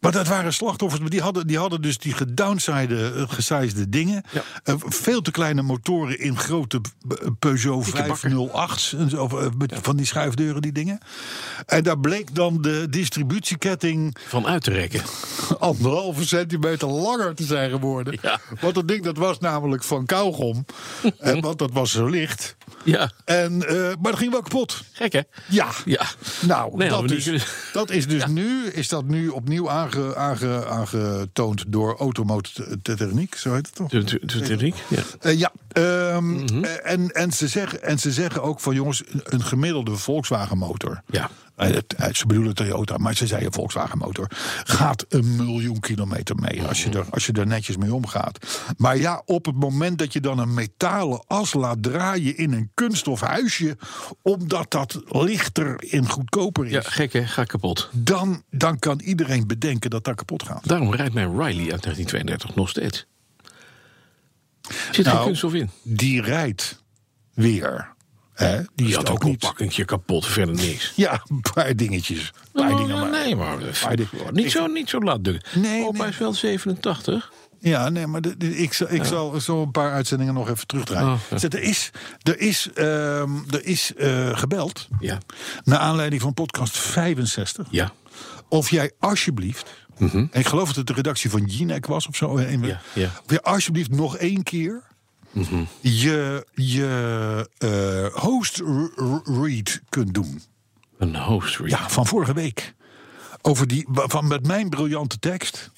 [SPEAKER 3] Maar dat waren slachtoffers, maar die hadden, die hadden dus die gedownside, eh, gesized dingen. Eh, veel te kleine motoren in grote eh, Peugeot 508's. en zo, of, eh, met Van die schuifdeuren, die dingen. En daar bleek dan de distributieketting
[SPEAKER 2] Van uit te rekken.
[SPEAKER 3] anderhalve centimeter langer te zijn geworden.
[SPEAKER 2] Ja. Mhm.
[SPEAKER 3] Want dat ding dat was namelijk van kauwgom. Eh, want dat was zo licht.
[SPEAKER 2] Ja,
[SPEAKER 3] En, eh, maar dat ging wel kapot.
[SPEAKER 2] gek hè?
[SPEAKER 3] Ja.
[SPEAKER 2] Ja.
[SPEAKER 3] Nou,
[SPEAKER 2] Nee, hadden
[SPEAKER 3] dat,
[SPEAKER 2] we niet
[SPEAKER 3] is,
[SPEAKER 2] kunnen-
[SPEAKER 3] dat is dus nu, is dat nu opnieuw aange, aange, aangetoond door automotechniek, zo heet het toch?
[SPEAKER 2] De- de- de- de- de- Ja.
[SPEAKER 3] Eh, ja, ehm,
[SPEAKER 2] Mhm.
[SPEAKER 3] eh, en, en, ze zeggen, en ze zeggen ook van jongens, een- een gemiddelde Volkswagen motor.
[SPEAKER 2] Ja.
[SPEAKER 3] Eh, dat- eh, ze bedoelen Toyota, maar ze zeiden Volkswagen motor. Gaat een miljoen kilometer mee als je, er, als je er netjes mee omgaat. Maar ja, op het moment dat je dan een metalen as laat draaien in een kunststof huisje. omdat dat lichter en goedkoper is.
[SPEAKER 2] ja, gek hè? Ga kapot.
[SPEAKER 3] Dan, dan kan iedereen bedenken dat dat kapot gaat.
[SPEAKER 2] Daarom rijdt mijn Riley uit 1932 nog steeds. Zit
[SPEAKER 3] Nou,
[SPEAKER 2] geen kunststof in.
[SPEAKER 3] Die rijdt weer. Hè? Die
[SPEAKER 2] Je
[SPEAKER 3] is
[SPEAKER 2] had
[SPEAKER 3] er
[SPEAKER 2] ook een pakkentje kapot, verder niks.
[SPEAKER 3] Ja, een paar dingetjes. Een paar dingen maar.
[SPEAKER 2] Nou, Oh, nee, maar Oh,
[SPEAKER 3] Paar dingen.
[SPEAKER 2] niet, zo, niet zo laat dukken.
[SPEAKER 3] Nee,
[SPEAKER 2] Opa
[SPEAKER 3] nee.
[SPEAKER 2] is wel 87.
[SPEAKER 3] Ja, nee, maar de- de- ik, zal, ik zal zo een paar uitzendingen nog even terugdraaien.
[SPEAKER 2] Oh, ja.
[SPEAKER 3] Zeg, Er is, er is, ehm, er is eh, gebeld,
[SPEAKER 2] Ja.
[SPEAKER 3] naar aanleiding van podcast 65,
[SPEAKER 2] Ja. Mhm.
[SPEAKER 3] of jij alsjeblieft, en ik geloof dat het de redactie van Jinek was of zo, en we-
[SPEAKER 2] Ja, ja. Mhm.
[SPEAKER 3] of jij alsjeblieft nog één keer je, je eh, host re- re- read kunt doen.
[SPEAKER 2] Een host read.
[SPEAKER 3] Ja, van vorige week. Over die, wa- van met mijn briljante tekst.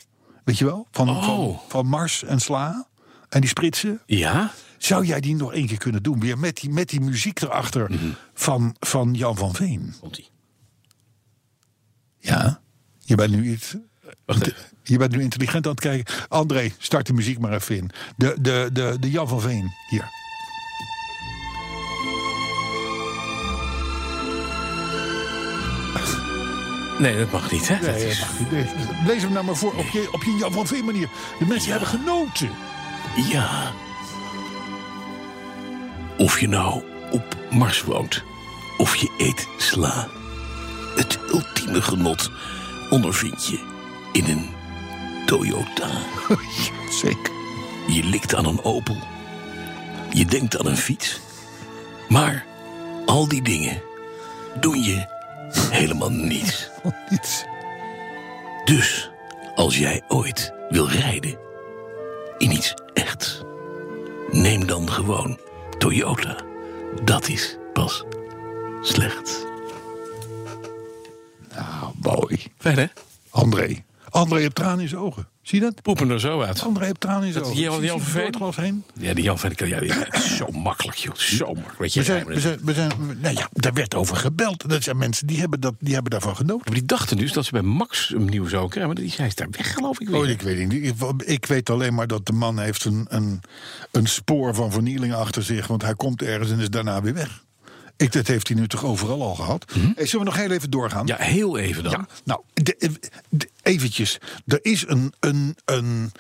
[SPEAKER 3] Weet je wel? Van, van,
[SPEAKER 2] Oh.
[SPEAKER 3] van Mars en Sla. En die spritsen.
[SPEAKER 2] Ja?
[SPEAKER 3] Zou jij die nog één keer kunnen doen? Weer met die, met die muziek erachter
[SPEAKER 2] Mhm.
[SPEAKER 3] van, van Jan van Veen.
[SPEAKER 2] Komt-ie.
[SPEAKER 3] Ja. Je bent nu iets...
[SPEAKER 2] Wacht even.
[SPEAKER 3] Je bent nu intelligent aan het kijken. André, start de muziek maar even in. De, de, de, de Jan van Veen, hier.
[SPEAKER 2] Nee, dat mag niet, hè? dat is...
[SPEAKER 3] Lees hem nou maar voor op je, op je Jan van Veen manier. De mensen hebben genoten.
[SPEAKER 2] Ja. Of je nou op Mars woont, of je eet sla. Het ultieme genot ondervind je in een Toyota.
[SPEAKER 3] Zeker.
[SPEAKER 2] Je likt aan een Opel. Je denkt aan een fiets. Maar al die dingen doen je helemaal niets.
[SPEAKER 3] Iets.
[SPEAKER 2] Dus als jij ooit wil rijden in iets echt, neem dan gewoon Toyota. Dat is pas slecht.
[SPEAKER 3] Nou, mooi.
[SPEAKER 2] Fijn hè?
[SPEAKER 3] André. André heeft tranen in zijn ogen. Zie je dat?
[SPEAKER 2] Poepen er zo uit.
[SPEAKER 3] André heeft tranen in zijn
[SPEAKER 2] Dat
[SPEAKER 3] ogen.
[SPEAKER 2] Jan-
[SPEAKER 3] Zie je
[SPEAKER 2] Jan
[SPEAKER 3] die
[SPEAKER 2] Verveen?
[SPEAKER 3] voorglas heen?
[SPEAKER 2] Ja, die Jan van der Keel, ja, die- zo makkelijk joh, zo makkelijk. Weet je,
[SPEAKER 3] We zijn, we zijn, we zijn, we- nou ja, daar werd over gebeld. Dat zijn mensen die hebben, dat, die hebben daarvan genoten.
[SPEAKER 2] Maar die dachten dus dat ze bij Max hem nieuw zouden krijgen, maar die hij is daar weg geloof ik weer.
[SPEAKER 3] Oh, ik weet het niet. Ik- Ik weet alleen maar dat de man heeft een, een, een spoor van vernieling achter zich. Want hij komt ergens en is daarna weer weg. Ik, dat heeft hij nu toch overal al gehad. Hey, zullen we nog heel even doorgaan?
[SPEAKER 2] Mhm. Ja, heel even dan.
[SPEAKER 3] Ja, nou, de, de- eventjes. Er is een, een, een.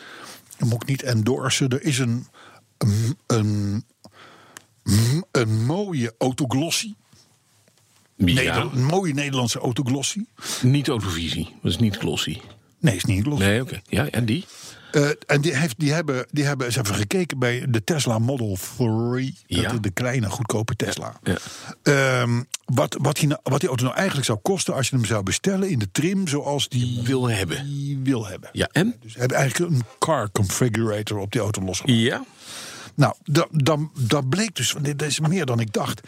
[SPEAKER 3] Dat moet ik niet endorsen. Er is een. Een, een, een mooie autoglossie. Neder- een mooie Nederlandse autoglossie.
[SPEAKER 2] niet autovisie, dat is niet glossy.
[SPEAKER 3] Nee, is niet los.
[SPEAKER 2] Nee, oké. Ja, en die?
[SPEAKER 3] Eh, en die, heeft, die, hebben, die hebben ze hebben gekeken bij de Tesla Model 3.
[SPEAKER 2] Ja.
[SPEAKER 3] De, de kleine, goedkope Tesla.
[SPEAKER 2] Ja.
[SPEAKER 3] Ehm, wat, wat, die, nou- wat die auto nou eigenlijk zou kosten als je hem zou bestellen in de trim zoals die
[SPEAKER 2] Wil hebben.
[SPEAKER 3] die wil hebben.
[SPEAKER 2] Ja, en?
[SPEAKER 3] Dus hebben eigenlijk een car configurator op die auto losgemaakt.
[SPEAKER 2] Ja.
[SPEAKER 3] Nou, da- dan, dat bleek dus, want dit is meer dan ik dacht.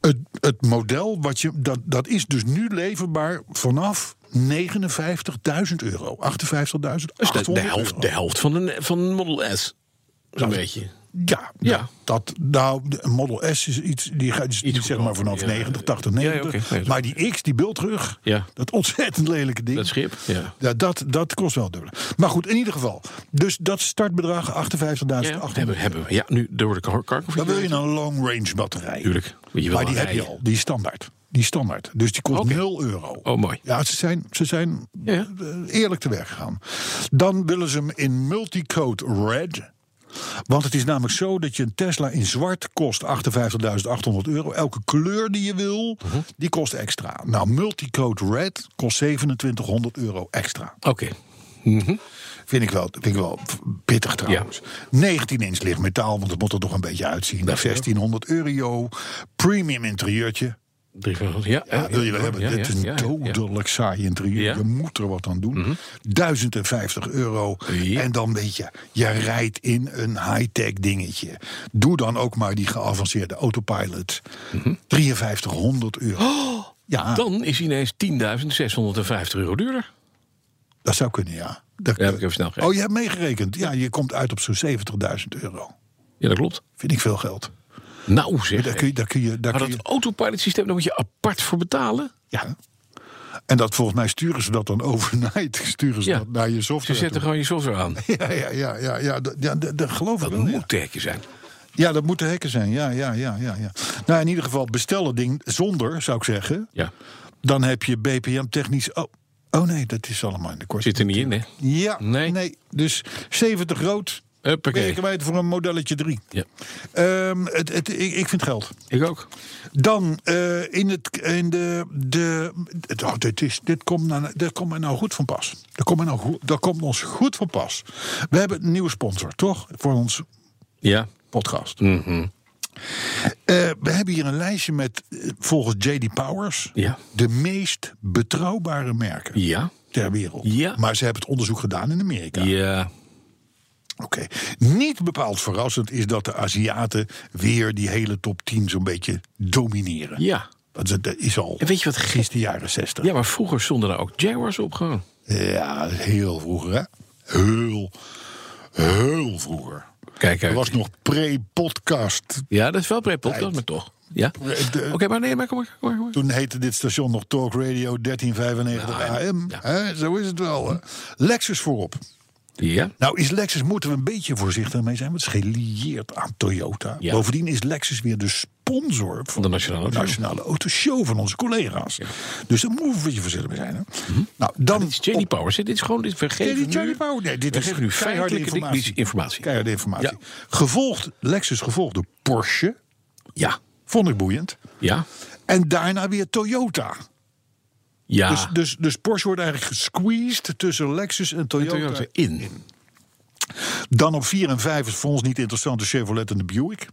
[SPEAKER 3] Het, het model, wat je, dat, dat is dus nu leverbaar vanaf 59.000 euro. 58.800
[SPEAKER 2] Dus de, de, helft, de helft van een, van een Model S. Zo'n beetje.
[SPEAKER 3] Ja,
[SPEAKER 2] Ja.
[SPEAKER 3] ja. Dat, nou, de Model S is iets, die gaat die is zeg maar
[SPEAKER 2] goedkoper,
[SPEAKER 3] vanaf
[SPEAKER 2] ja.
[SPEAKER 3] 90, 80,
[SPEAKER 2] ja,
[SPEAKER 3] 90.
[SPEAKER 2] oké, nee, dat-
[SPEAKER 3] maar die X, die bultrug,
[SPEAKER 2] Ja.
[SPEAKER 3] dat ontzettend lelijke ding.
[SPEAKER 2] Dat schip, ja.
[SPEAKER 3] Ja, dat, dat kost wel dubbel. Maar goed, in ieder geval. Dus dat startbedrag 58.800.
[SPEAKER 2] hebben, hebben we. Ja, nu door de kar- kar-
[SPEAKER 3] Dan wil je een long range batterij.
[SPEAKER 2] Tuurlijk. Maar, je wil
[SPEAKER 3] Maar die
[SPEAKER 2] wel
[SPEAKER 3] heb je
[SPEAKER 2] rijden.
[SPEAKER 3] al, die is standaard. Die is standaard. Dus die kost
[SPEAKER 2] Oké.
[SPEAKER 3] 0 euro.
[SPEAKER 2] Oh, mooi.
[SPEAKER 3] Ja, ze zijn, ze zijn
[SPEAKER 2] Ja.
[SPEAKER 3] eh, eerlijk te werk gegaan. Dan willen ze hem in multicode red. Want het is namelijk zo dat je een Tesla in zwart kost 58.800 euro. Elke kleur die je wil,
[SPEAKER 2] Mhm.
[SPEAKER 3] die kost extra. Nou, Multicode Red kost 2700 euro extra.
[SPEAKER 2] Oké.
[SPEAKER 3] Vind ik wel, vind ik wel pittig trouwens. 19 inch licht metaal, want het moet er toch een beetje uitzien. 1600 euro. Premium interieurtje.
[SPEAKER 2] Drie van- Ja,
[SPEAKER 3] Ja, wil je wel hebben.
[SPEAKER 2] ja,
[SPEAKER 3] Dit is een
[SPEAKER 2] ja, ja, ja.
[SPEAKER 3] dodelijk saai interieur.
[SPEAKER 2] Ja. Mhm.
[SPEAKER 3] Je moet er wat aan doen. 1050 euro.
[SPEAKER 2] Ja.
[SPEAKER 3] En dan weet je, je rijdt in een high-tech dingetje. Doe dan ook maar die geavanceerde autopilot.
[SPEAKER 2] Mhm.
[SPEAKER 3] 5300 euro.
[SPEAKER 2] Oh,
[SPEAKER 3] ja,
[SPEAKER 2] Dan is hij ineens 10.650 euro duurder.
[SPEAKER 3] dat zou kunnen, ja. Dat,
[SPEAKER 2] Ja, heb ik even snel gerekend.
[SPEAKER 3] oh, je hebt meegerekend. Ja, je komt uit op zo'n 70.000 euro.
[SPEAKER 2] Ja, dat klopt.
[SPEAKER 3] Vind ik veel geld.
[SPEAKER 2] Nou zeg.
[SPEAKER 3] Daar kun je, daar kun je, daar
[SPEAKER 2] Maar
[SPEAKER 3] kun je
[SPEAKER 2] dat autopilot systeem, daar moet je apart voor betalen.
[SPEAKER 3] ja. En dat volgens mij sturen ze dat dan overnight. Sturen ze
[SPEAKER 2] Ja.
[SPEAKER 3] dat naar je
[SPEAKER 2] Ze
[SPEAKER 3] software. toe.
[SPEAKER 2] zetten gewoon je software aan.
[SPEAKER 3] Ja, ja, ja, ja, ja, dat- ja, dat, dat geloof ik
[SPEAKER 2] Dat
[SPEAKER 3] wel. ja.
[SPEAKER 2] moet tekje zijn.
[SPEAKER 3] Ja, dat moeten hekken zijn. Ja, ja, ja, ja, ja. Nou, in ieder geval bestel het ding zonder, zou ik zeggen.
[SPEAKER 2] Ja.
[SPEAKER 3] Dan heb je BPM technisch... Oh, oh nee, dat is allemaal in de korting.
[SPEAKER 2] Zit er niet in, hè?
[SPEAKER 3] Ja,
[SPEAKER 2] Nee.
[SPEAKER 3] nee. Dus 70 rood ben je
[SPEAKER 2] Huppakee.
[SPEAKER 3] kwijt voor een modelletje 3.
[SPEAKER 2] Ja.
[SPEAKER 3] het, het, ik, ik vind geld.
[SPEAKER 2] Ik ook.
[SPEAKER 3] Dan eh, in, het, in de. de het- oh, dit, is, dit, komt nou, dit komt mij nou goed van pas. Dat komt, mij nou goed, dat komt ons goed van pas. We hebben een nieuwe sponsor, toch? Voor ons
[SPEAKER 2] Ja.
[SPEAKER 3] podcast.
[SPEAKER 2] Mhm.
[SPEAKER 3] Eh, we hebben hier een lijstje met eh, volgens JD Powers
[SPEAKER 2] Ja.
[SPEAKER 3] de meest betrouwbare merken
[SPEAKER 2] Ja.
[SPEAKER 3] ter wereld.
[SPEAKER 2] Ja.
[SPEAKER 3] Maar ze hebben het onderzoek gedaan in Amerika.
[SPEAKER 2] Ja.
[SPEAKER 3] Oké. Niet bepaald verrassend is dat de Aziaten weer die hele top 10 zo'n beetje domineren.
[SPEAKER 2] Ja.
[SPEAKER 3] Dat is- dat is al
[SPEAKER 2] En weet je wat gek-
[SPEAKER 3] sinds de jaren 60.
[SPEAKER 2] Ja, maar vroeger stonden daar ook Jaguars op gewoon.
[SPEAKER 3] Ja, heel vroeger, hè? Heel, heel vroeger.
[SPEAKER 2] Kijk
[SPEAKER 3] Dat
[SPEAKER 2] uit.
[SPEAKER 3] was nog pre-podcast.
[SPEAKER 2] Ja, dat is wel pre-podcast, maar toch. Ja.
[SPEAKER 3] De-
[SPEAKER 2] Oké, maar nee, maar kom maar. Kom maar, kom maar.
[SPEAKER 3] Toen heette dit station nog Talk Radio 1395 AM. Hè, zo is het wel. Hè? Lexus voorop.
[SPEAKER 2] Ja.
[SPEAKER 3] Nou, is Lexus, moeten we een beetje voorzichtig mee zijn, want het is gelieerd aan Toyota.
[SPEAKER 2] Ja.
[SPEAKER 3] Bovendien is Lexus weer de sponsor van
[SPEAKER 2] de Nationale Auto Show.
[SPEAKER 3] Nationale Autoshow van onze collega's. Dus daar moeten we een beetje voorzichtig mee zijn. Hè? Nou, dan
[SPEAKER 2] Mhm. Dit is Jenny Powers. hè? Dit is gewoon... Dit, we geven
[SPEAKER 3] Jerry
[SPEAKER 2] nu-
[SPEAKER 3] Jerry Powell. Nee, dit
[SPEAKER 2] we
[SPEAKER 3] is
[SPEAKER 2] geven nu
[SPEAKER 3] keiharde
[SPEAKER 2] feitelijke informatie.
[SPEAKER 3] informatie.
[SPEAKER 2] informatie.
[SPEAKER 3] keiharde informatie.
[SPEAKER 2] Ja.
[SPEAKER 3] Gevolgd, Lexus gevolgd door Porsche.
[SPEAKER 2] Ja.
[SPEAKER 3] Vond ik boeiend.
[SPEAKER 2] Ja.
[SPEAKER 3] En daarna weer Toyota.
[SPEAKER 2] Ja.
[SPEAKER 3] Dus, dus, dus Porsche wordt eigenlijk gesqueezed tussen Lexus en Toyota.
[SPEAKER 2] Toyota in.
[SPEAKER 3] Dan op 4 en 5 is voor ons niet interessant de Chevrolet en de Buick.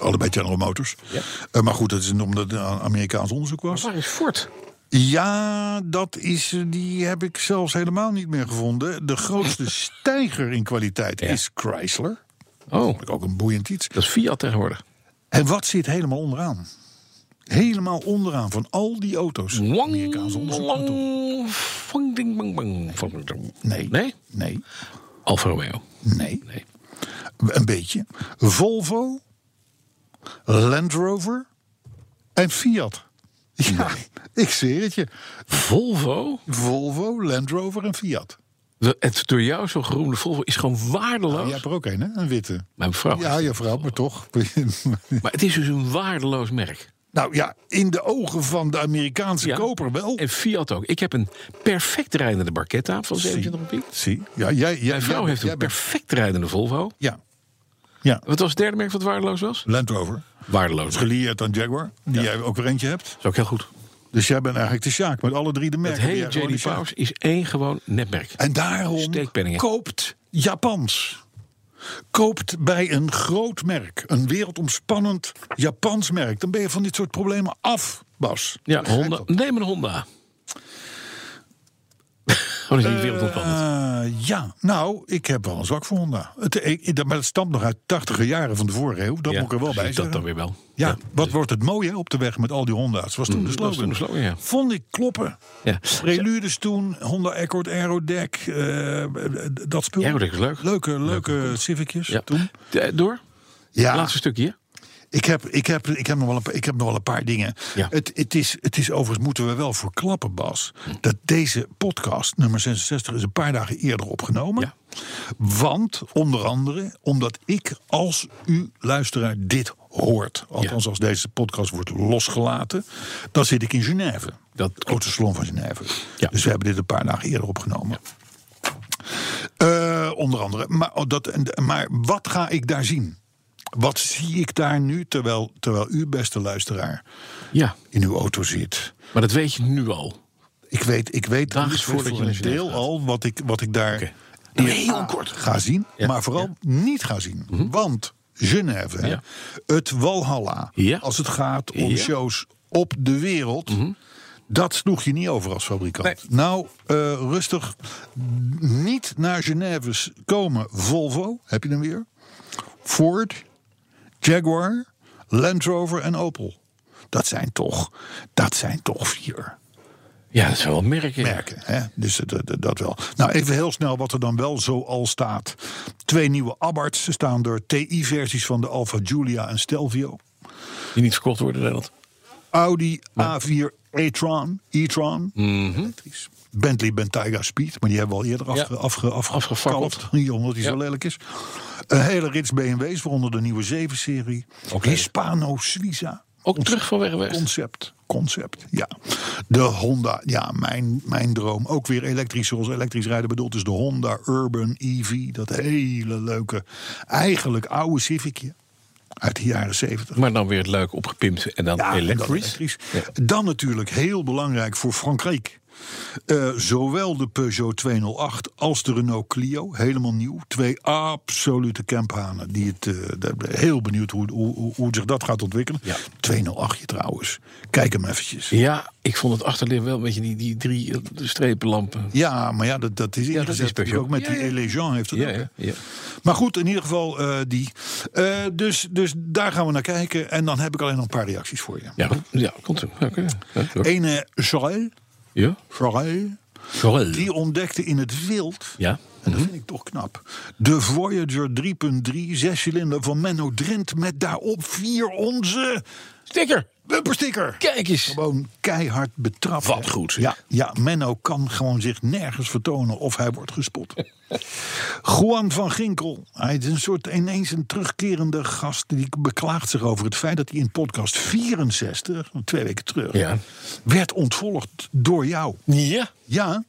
[SPEAKER 3] Allebei General Motors.
[SPEAKER 2] Mhm. Ja.
[SPEAKER 3] Eh, maar goed, dat is omdat het een Amerikaans onderzoek was.
[SPEAKER 2] Waar is Ford?
[SPEAKER 3] Ja, dat is, eh, die heb ik zelfs helemaal niet meer gevonden. De grootste stijger in kwaliteit is Chrysler.
[SPEAKER 2] Oh,
[SPEAKER 3] Ook een boeiend iets.
[SPEAKER 2] dat is Fiat tegenwoordig.
[SPEAKER 3] En wat zit helemaal onderaan? Helemaal onderaan van al die auto's. Amerikaanse onderzoek.
[SPEAKER 2] lang, vang, ding, bang, bang, vang, ding.
[SPEAKER 3] Nee.
[SPEAKER 2] Nee?
[SPEAKER 3] Nee.
[SPEAKER 2] Alfa Romeo.
[SPEAKER 3] Nee.
[SPEAKER 2] Nee.
[SPEAKER 3] Een beetje. Volvo, Land Rover en Fiat. Ja, ik zweer het je.
[SPEAKER 2] Volvo?
[SPEAKER 3] Volvo, Land Rover en Fiat.
[SPEAKER 2] De- Het door jou zo geroemde Volvo is gewoon waardeloos.
[SPEAKER 3] Jij hebt er ook een, hè? Een witte.
[SPEAKER 2] Mijn vrouw.
[SPEAKER 3] Ja, je vrouw, maar toch.
[SPEAKER 2] Maar het is dus een waardeloos merk.
[SPEAKER 3] nou ja, in de ogen van de Amerikaanse
[SPEAKER 2] Ja.
[SPEAKER 3] koper wel.
[SPEAKER 2] En Fiat ook. Ik heb een perfect rijdende Barchetta van 27 piek.
[SPEAKER 3] Zie, ja, jij, jij,
[SPEAKER 2] Mijn vrouw
[SPEAKER 3] jij-
[SPEAKER 2] heeft een
[SPEAKER 3] jij bent-
[SPEAKER 2] perfect rijdende Volvo.
[SPEAKER 3] Ja. Ja,
[SPEAKER 2] Wat was het derde merk wat waardeloos was?
[SPEAKER 3] Land Rover.
[SPEAKER 2] Waardeloos. Dat
[SPEAKER 3] Gelieerd aan Jaguar, die jij ook weer eentje hebt.
[SPEAKER 2] is ook heel goed.
[SPEAKER 3] Dus jij bent eigenlijk de Sjaak met alle drie de
[SPEAKER 2] Het
[SPEAKER 3] merken. die
[SPEAKER 2] hele
[SPEAKER 3] jij gewoon
[SPEAKER 2] J.D.
[SPEAKER 3] de Sjaak-
[SPEAKER 2] Powers is één gewoon netmerk.
[SPEAKER 3] En daarom
[SPEAKER 2] Steekpenningen.
[SPEAKER 3] koopt Japans. Koopt bij een groot merk, een wereldomspannend Japans merk. Dan ben je van dit soort problemen af, Bas.
[SPEAKER 2] Ja,
[SPEAKER 3] Begrijp
[SPEAKER 2] Honda.
[SPEAKER 3] dat?
[SPEAKER 2] Neem een Honda. oh, dat is niet wereldontspannend.
[SPEAKER 3] Eh, ja, nou, ik heb wel een zwak voor Honda. Het, ik, dat- maar dat stamt nog uit 80 jaren van de vorige eeuw. Dat
[SPEAKER 2] Ja,
[SPEAKER 3] moet ik er wel bij
[SPEAKER 2] Dat
[SPEAKER 3] zeggen.
[SPEAKER 2] dan weer wel.
[SPEAKER 3] Ja, wat wordt het mooi hè, op de weg met al die Honda's. Was toen de
[SPEAKER 2] Mm, dat was
[SPEAKER 3] slogan.
[SPEAKER 2] toen de slogan, ja.
[SPEAKER 3] Vond ik kloppen.
[SPEAKER 2] Ja.
[SPEAKER 3] Preludes toen, Honda Accord Aerodeck, eh, dat spul.
[SPEAKER 2] Aerodeck is leuk.
[SPEAKER 3] Leuke, leuke, Civicjes
[SPEAKER 2] Ja.
[SPEAKER 3] toen.
[SPEAKER 2] Eh, Door?
[SPEAKER 3] Ja,
[SPEAKER 2] Laatste stukje. hè?
[SPEAKER 3] ik heb, ik, heb, ik, heb nog wel een, pa- ik heb nog wel een paar dingen.
[SPEAKER 2] Ja.
[SPEAKER 3] Het, het, is, het is overigens, moeten we wel voor klappen, Bas... dat deze podcast, nummer 66, is een paar dagen eerder opgenomen.
[SPEAKER 2] Ja.
[SPEAKER 3] Want, onder andere, omdat ik als u luisteraar dit hoort... althans
[SPEAKER 2] Ja.
[SPEAKER 3] als deze podcast wordt losgelaten... dan zit ik in Genève.
[SPEAKER 2] Dat
[SPEAKER 3] het grote salon van Genève.
[SPEAKER 2] Ja.
[SPEAKER 3] Dus we hebben dit een paar dagen eerder opgenomen. Eh, onder andere. Maar, oh, dat, en- maar wat ga ik daar zien? Wat zie ik daar nu terwijl, terwijl u, beste luisteraar,
[SPEAKER 2] Ja,
[SPEAKER 3] in uw auto zit?
[SPEAKER 2] maar dat weet je nu al.
[SPEAKER 3] Ik weet, ik weet
[SPEAKER 2] Daags
[SPEAKER 3] niet
[SPEAKER 2] voordat
[SPEAKER 3] voor
[SPEAKER 2] je naar
[SPEAKER 3] een
[SPEAKER 2] Genève
[SPEAKER 3] deel
[SPEAKER 2] gaat.
[SPEAKER 3] al wat ik, wat ik daar
[SPEAKER 2] Oké.
[SPEAKER 3] heel kort ga zien, maar vooral niet ga zien. Want Genève, hè,
[SPEAKER 2] Mhm. Ja.
[SPEAKER 3] het Walhalla,
[SPEAKER 2] Ja.
[SPEAKER 3] als het gaat om
[SPEAKER 2] Ja. Mhm.
[SPEAKER 3] shows op de wereld. Dat sloeg je niet over als fabrikant. Nou, eh, rustig. Niet naar Genève komen. Volvo, heb je hem weer? Ford, Jaguar, Land Rover en Opel. Dat zijn toch, dat zijn toch vier
[SPEAKER 2] Ja, dat is wel merken.
[SPEAKER 3] merken. Hè? Dus dat, dat, dat wel. Nou, even heel snel wat er dan wel zo al staat. Twee nieuwe Abarths staan door TI-versies van de Alfa Giulia en Stelvio.
[SPEAKER 2] Die niet verkocht worden in Nederland.
[SPEAKER 3] Audi A4 e-tron. e-tron elektrisch. Bentley Bentayga Speed, maar die hebben we al eerder afge,
[SPEAKER 2] Mhm. Ja.
[SPEAKER 3] afge, afge-
[SPEAKER 2] Afgefakkeld.
[SPEAKER 3] afgekalfd, hier, Omdat die zo
[SPEAKER 2] Ja.
[SPEAKER 3] lelijk is. Een hele rits BMW's, waaronder de nieuwe 7-serie. Hispano Suiza.
[SPEAKER 2] Ook terug van weg geweest.
[SPEAKER 3] Concept, concept, ja. De Honda, ja, mijn, mijn droom. Ook weer elektrisch, zoals elektrisch rijden bedoeld is de Honda Urban EV. Dat hele leuke, eigenlijk oude Civicje uit de jaren zeventig.
[SPEAKER 2] Maar dan weer het luik opgepimpt en dan
[SPEAKER 3] Ja, en dan
[SPEAKER 2] elektrisch.
[SPEAKER 3] elektrisch. Dan natuurlijk heel belangrijk voor Frankrijk. Eh, zowel de Peugeot 208 als de Renault Clio, helemaal nieuw. Twee absolute campanen. Die het, eh, daar ben ik heel benieuwd hoe, hoe, hoe, hoe zich dat gaat ontwikkelen.
[SPEAKER 2] Ja.
[SPEAKER 3] 208 trouwens. Kijk hem eventjes.
[SPEAKER 2] Ja, ik vond het achterleer wel een beetje die, die drie eh, strepenlampen.
[SPEAKER 3] Ja, maar ja, dat, dat is ingezet.
[SPEAKER 2] is Peugeot.
[SPEAKER 3] Ook met
[SPEAKER 2] Ja,
[SPEAKER 3] die
[SPEAKER 2] ja.
[SPEAKER 3] Elegeant heeft het
[SPEAKER 2] Ja,
[SPEAKER 3] ook.
[SPEAKER 2] ja, ja.
[SPEAKER 3] Maar goed, in ieder geval eh, die. Eh, dus, dus daar gaan we naar kijken. En dan heb ik alleen nog een paar reacties voor je.
[SPEAKER 2] Ja, ja komt zo. Oké. Ja, zo.
[SPEAKER 3] Ene Charles,
[SPEAKER 2] Ja.
[SPEAKER 3] Charles, die ontdekte in het wild...
[SPEAKER 2] Ja. Mhm.
[SPEAKER 3] En dat vind ik toch knap. De Voyager 3.3 zescilinder van Menno Drent... met daarop vier onze
[SPEAKER 2] Sticker.
[SPEAKER 3] bumpersticker.
[SPEAKER 2] Kijk eens.
[SPEAKER 3] Gewoon keihard betrapt.
[SPEAKER 2] Wat goed, zeg.
[SPEAKER 3] Ja, ja, Menno kan gewoon zich nergens vertonen of hij wordt gespot. Juan van Ginkel. Hij is een soort ineens een terugkerende gast. Die beklaagt zich over het feit dat hij in podcast 64, twee weken terug,
[SPEAKER 2] Ja.
[SPEAKER 3] werd ontvolgd door jou.
[SPEAKER 2] Ja.
[SPEAKER 3] Ja,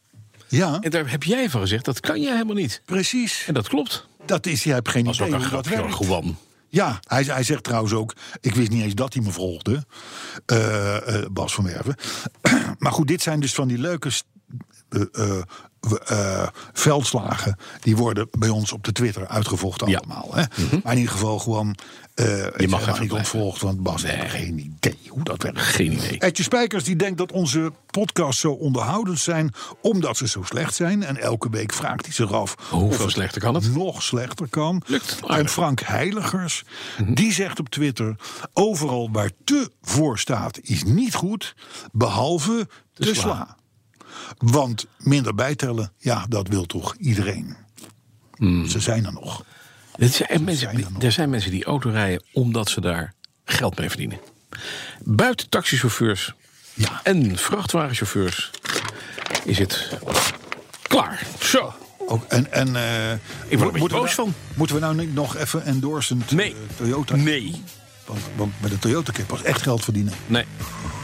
[SPEAKER 3] ja,
[SPEAKER 2] En daar heb jij van gezegd, dat kan jij helemaal niet.
[SPEAKER 3] precies.
[SPEAKER 2] En dat klopt.
[SPEAKER 3] Dat is, jij hebt geen
[SPEAKER 2] Dat is ook
[SPEAKER 3] idee
[SPEAKER 2] een
[SPEAKER 3] hoe dat
[SPEAKER 2] grapje, hoor,
[SPEAKER 3] werkt.
[SPEAKER 2] gewoon.
[SPEAKER 3] Ja, hij, hij zegt trouwens ook, ik wist niet eens dat hij me volgde, Eh, eh, Bas van Werven. maar goed, dit zijn dus van die leuke st- eh, eh, we- eh, veldslagen. Die worden bij ons op de Twitter uitgevochten
[SPEAKER 2] Ja. Mhm.
[SPEAKER 3] allemaal. Hè? Maar in ieder geval gewoon, eh, het is
[SPEAKER 2] mag
[SPEAKER 3] helemaal
[SPEAKER 2] even
[SPEAKER 3] niet
[SPEAKER 2] blijven.
[SPEAKER 3] ontvolgd, want Bas heeft geen idee hoe dat werkt.
[SPEAKER 2] Geen idee.
[SPEAKER 3] Edje Spijkers die denkt dat onze podcasts zo onderhoudend zijn... omdat ze zo slecht zijn. En elke week vraagt hij zich af...
[SPEAKER 2] Hoeveel
[SPEAKER 3] of het
[SPEAKER 2] slechter kan het?
[SPEAKER 3] nog slechter kan.
[SPEAKER 2] Lukt het aardig. Mhm.
[SPEAKER 3] en Frank Heiligers, die zegt op Twitter... overal waar te voor staat is niet goed, behalve te,
[SPEAKER 2] sla.
[SPEAKER 3] sla. Want minder bijtellen, ja, dat wil toch iedereen?
[SPEAKER 2] Hmm.
[SPEAKER 3] Ze zijn er nog.
[SPEAKER 2] Het zijn, en mensen,
[SPEAKER 3] zijn er nog.
[SPEAKER 2] die- er zijn mensen die auto rijden omdat ze daar geld mee verdienen. Buiten taxichauffeurs
[SPEAKER 3] Ja.
[SPEAKER 2] en vrachtwagenchauffeurs is het klaar. Zo.
[SPEAKER 3] Ook, en, en, eh,
[SPEAKER 2] beetje
[SPEAKER 3] moeten we
[SPEAKER 2] boos
[SPEAKER 3] nou-
[SPEAKER 2] van.
[SPEAKER 3] Moeten we nou niet nog even endorsend
[SPEAKER 2] Nee.
[SPEAKER 3] eh, Toyota...
[SPEAKER 2] Nee.
[SPEAKER 3] Want, want met de Toyota kun je pas echt geld verdienen.
[SPEAKER 2] Nee.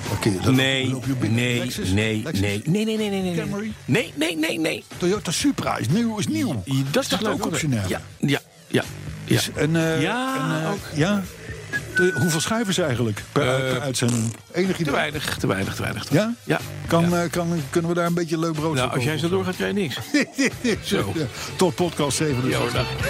[SPEAKER 3] Dan kun je- dan
[SPEAKER 2] Nee,
[SPEAKER 3] loop je
[SPEAKER 2] nee,
[SPEAKER 3] binnen.
[SPEAKER 2] nee,
[SPEAKER 3] Lexus?
[SPEAKER 2] nee,
[SPEAKER 3] Lexus?
[SPEAKER 2] nee, nee, nee, nee, nee, nee.
[SPEAKER 3] Camry?
[SPEAKER 2] Nee, nee, nee, nee.
[SPEAKER 3] Toyota Supra is nieuw, is nieuw.
[SPEAKER 2] Dat is toch leuk,
[SPEAKER 3] ook
[SPEAKER 2] hoor.
[SPEAKER 3] optioneel.
[SPEAKER 2] Ja, ja, ja. ja.
[SPEAKER 3] Dus een, eh,
[SPEAKER 2] Ja,
[SPEAKER 3] een, eh,
[SPEAKER 2] ook. Eh,
[SPEAKER 3] ja. De- hoeveel schrijvers eigenlijk per, per uitzending? Enig
[SPEAKER 2] Te
[SPEAKER 3] idee?
[SPEAKER 2] weinig, te weinig, te weinig. te
[SPEAKER 3] Ja?
[SPEAKER 2] weinig. Ja.
[SPEAKER 3] Kan,
[SPEAKER 2] Ja.
[SPEAKER 3] eh, kan, kunnen we daar een beetje leuk brood
[SPEAKER 2] Nou,
[SPEAKER 3] voor
[SPEAKER 2] als jij
[SPEAKER 3] kopen?
[SPEAKER 2] zo doorgaat, krijg je niks. Zo.
[SPEAKER 3] Ja, Tot podcast 7.
[SPEAKER 2] Ja, hoor, nou. dag.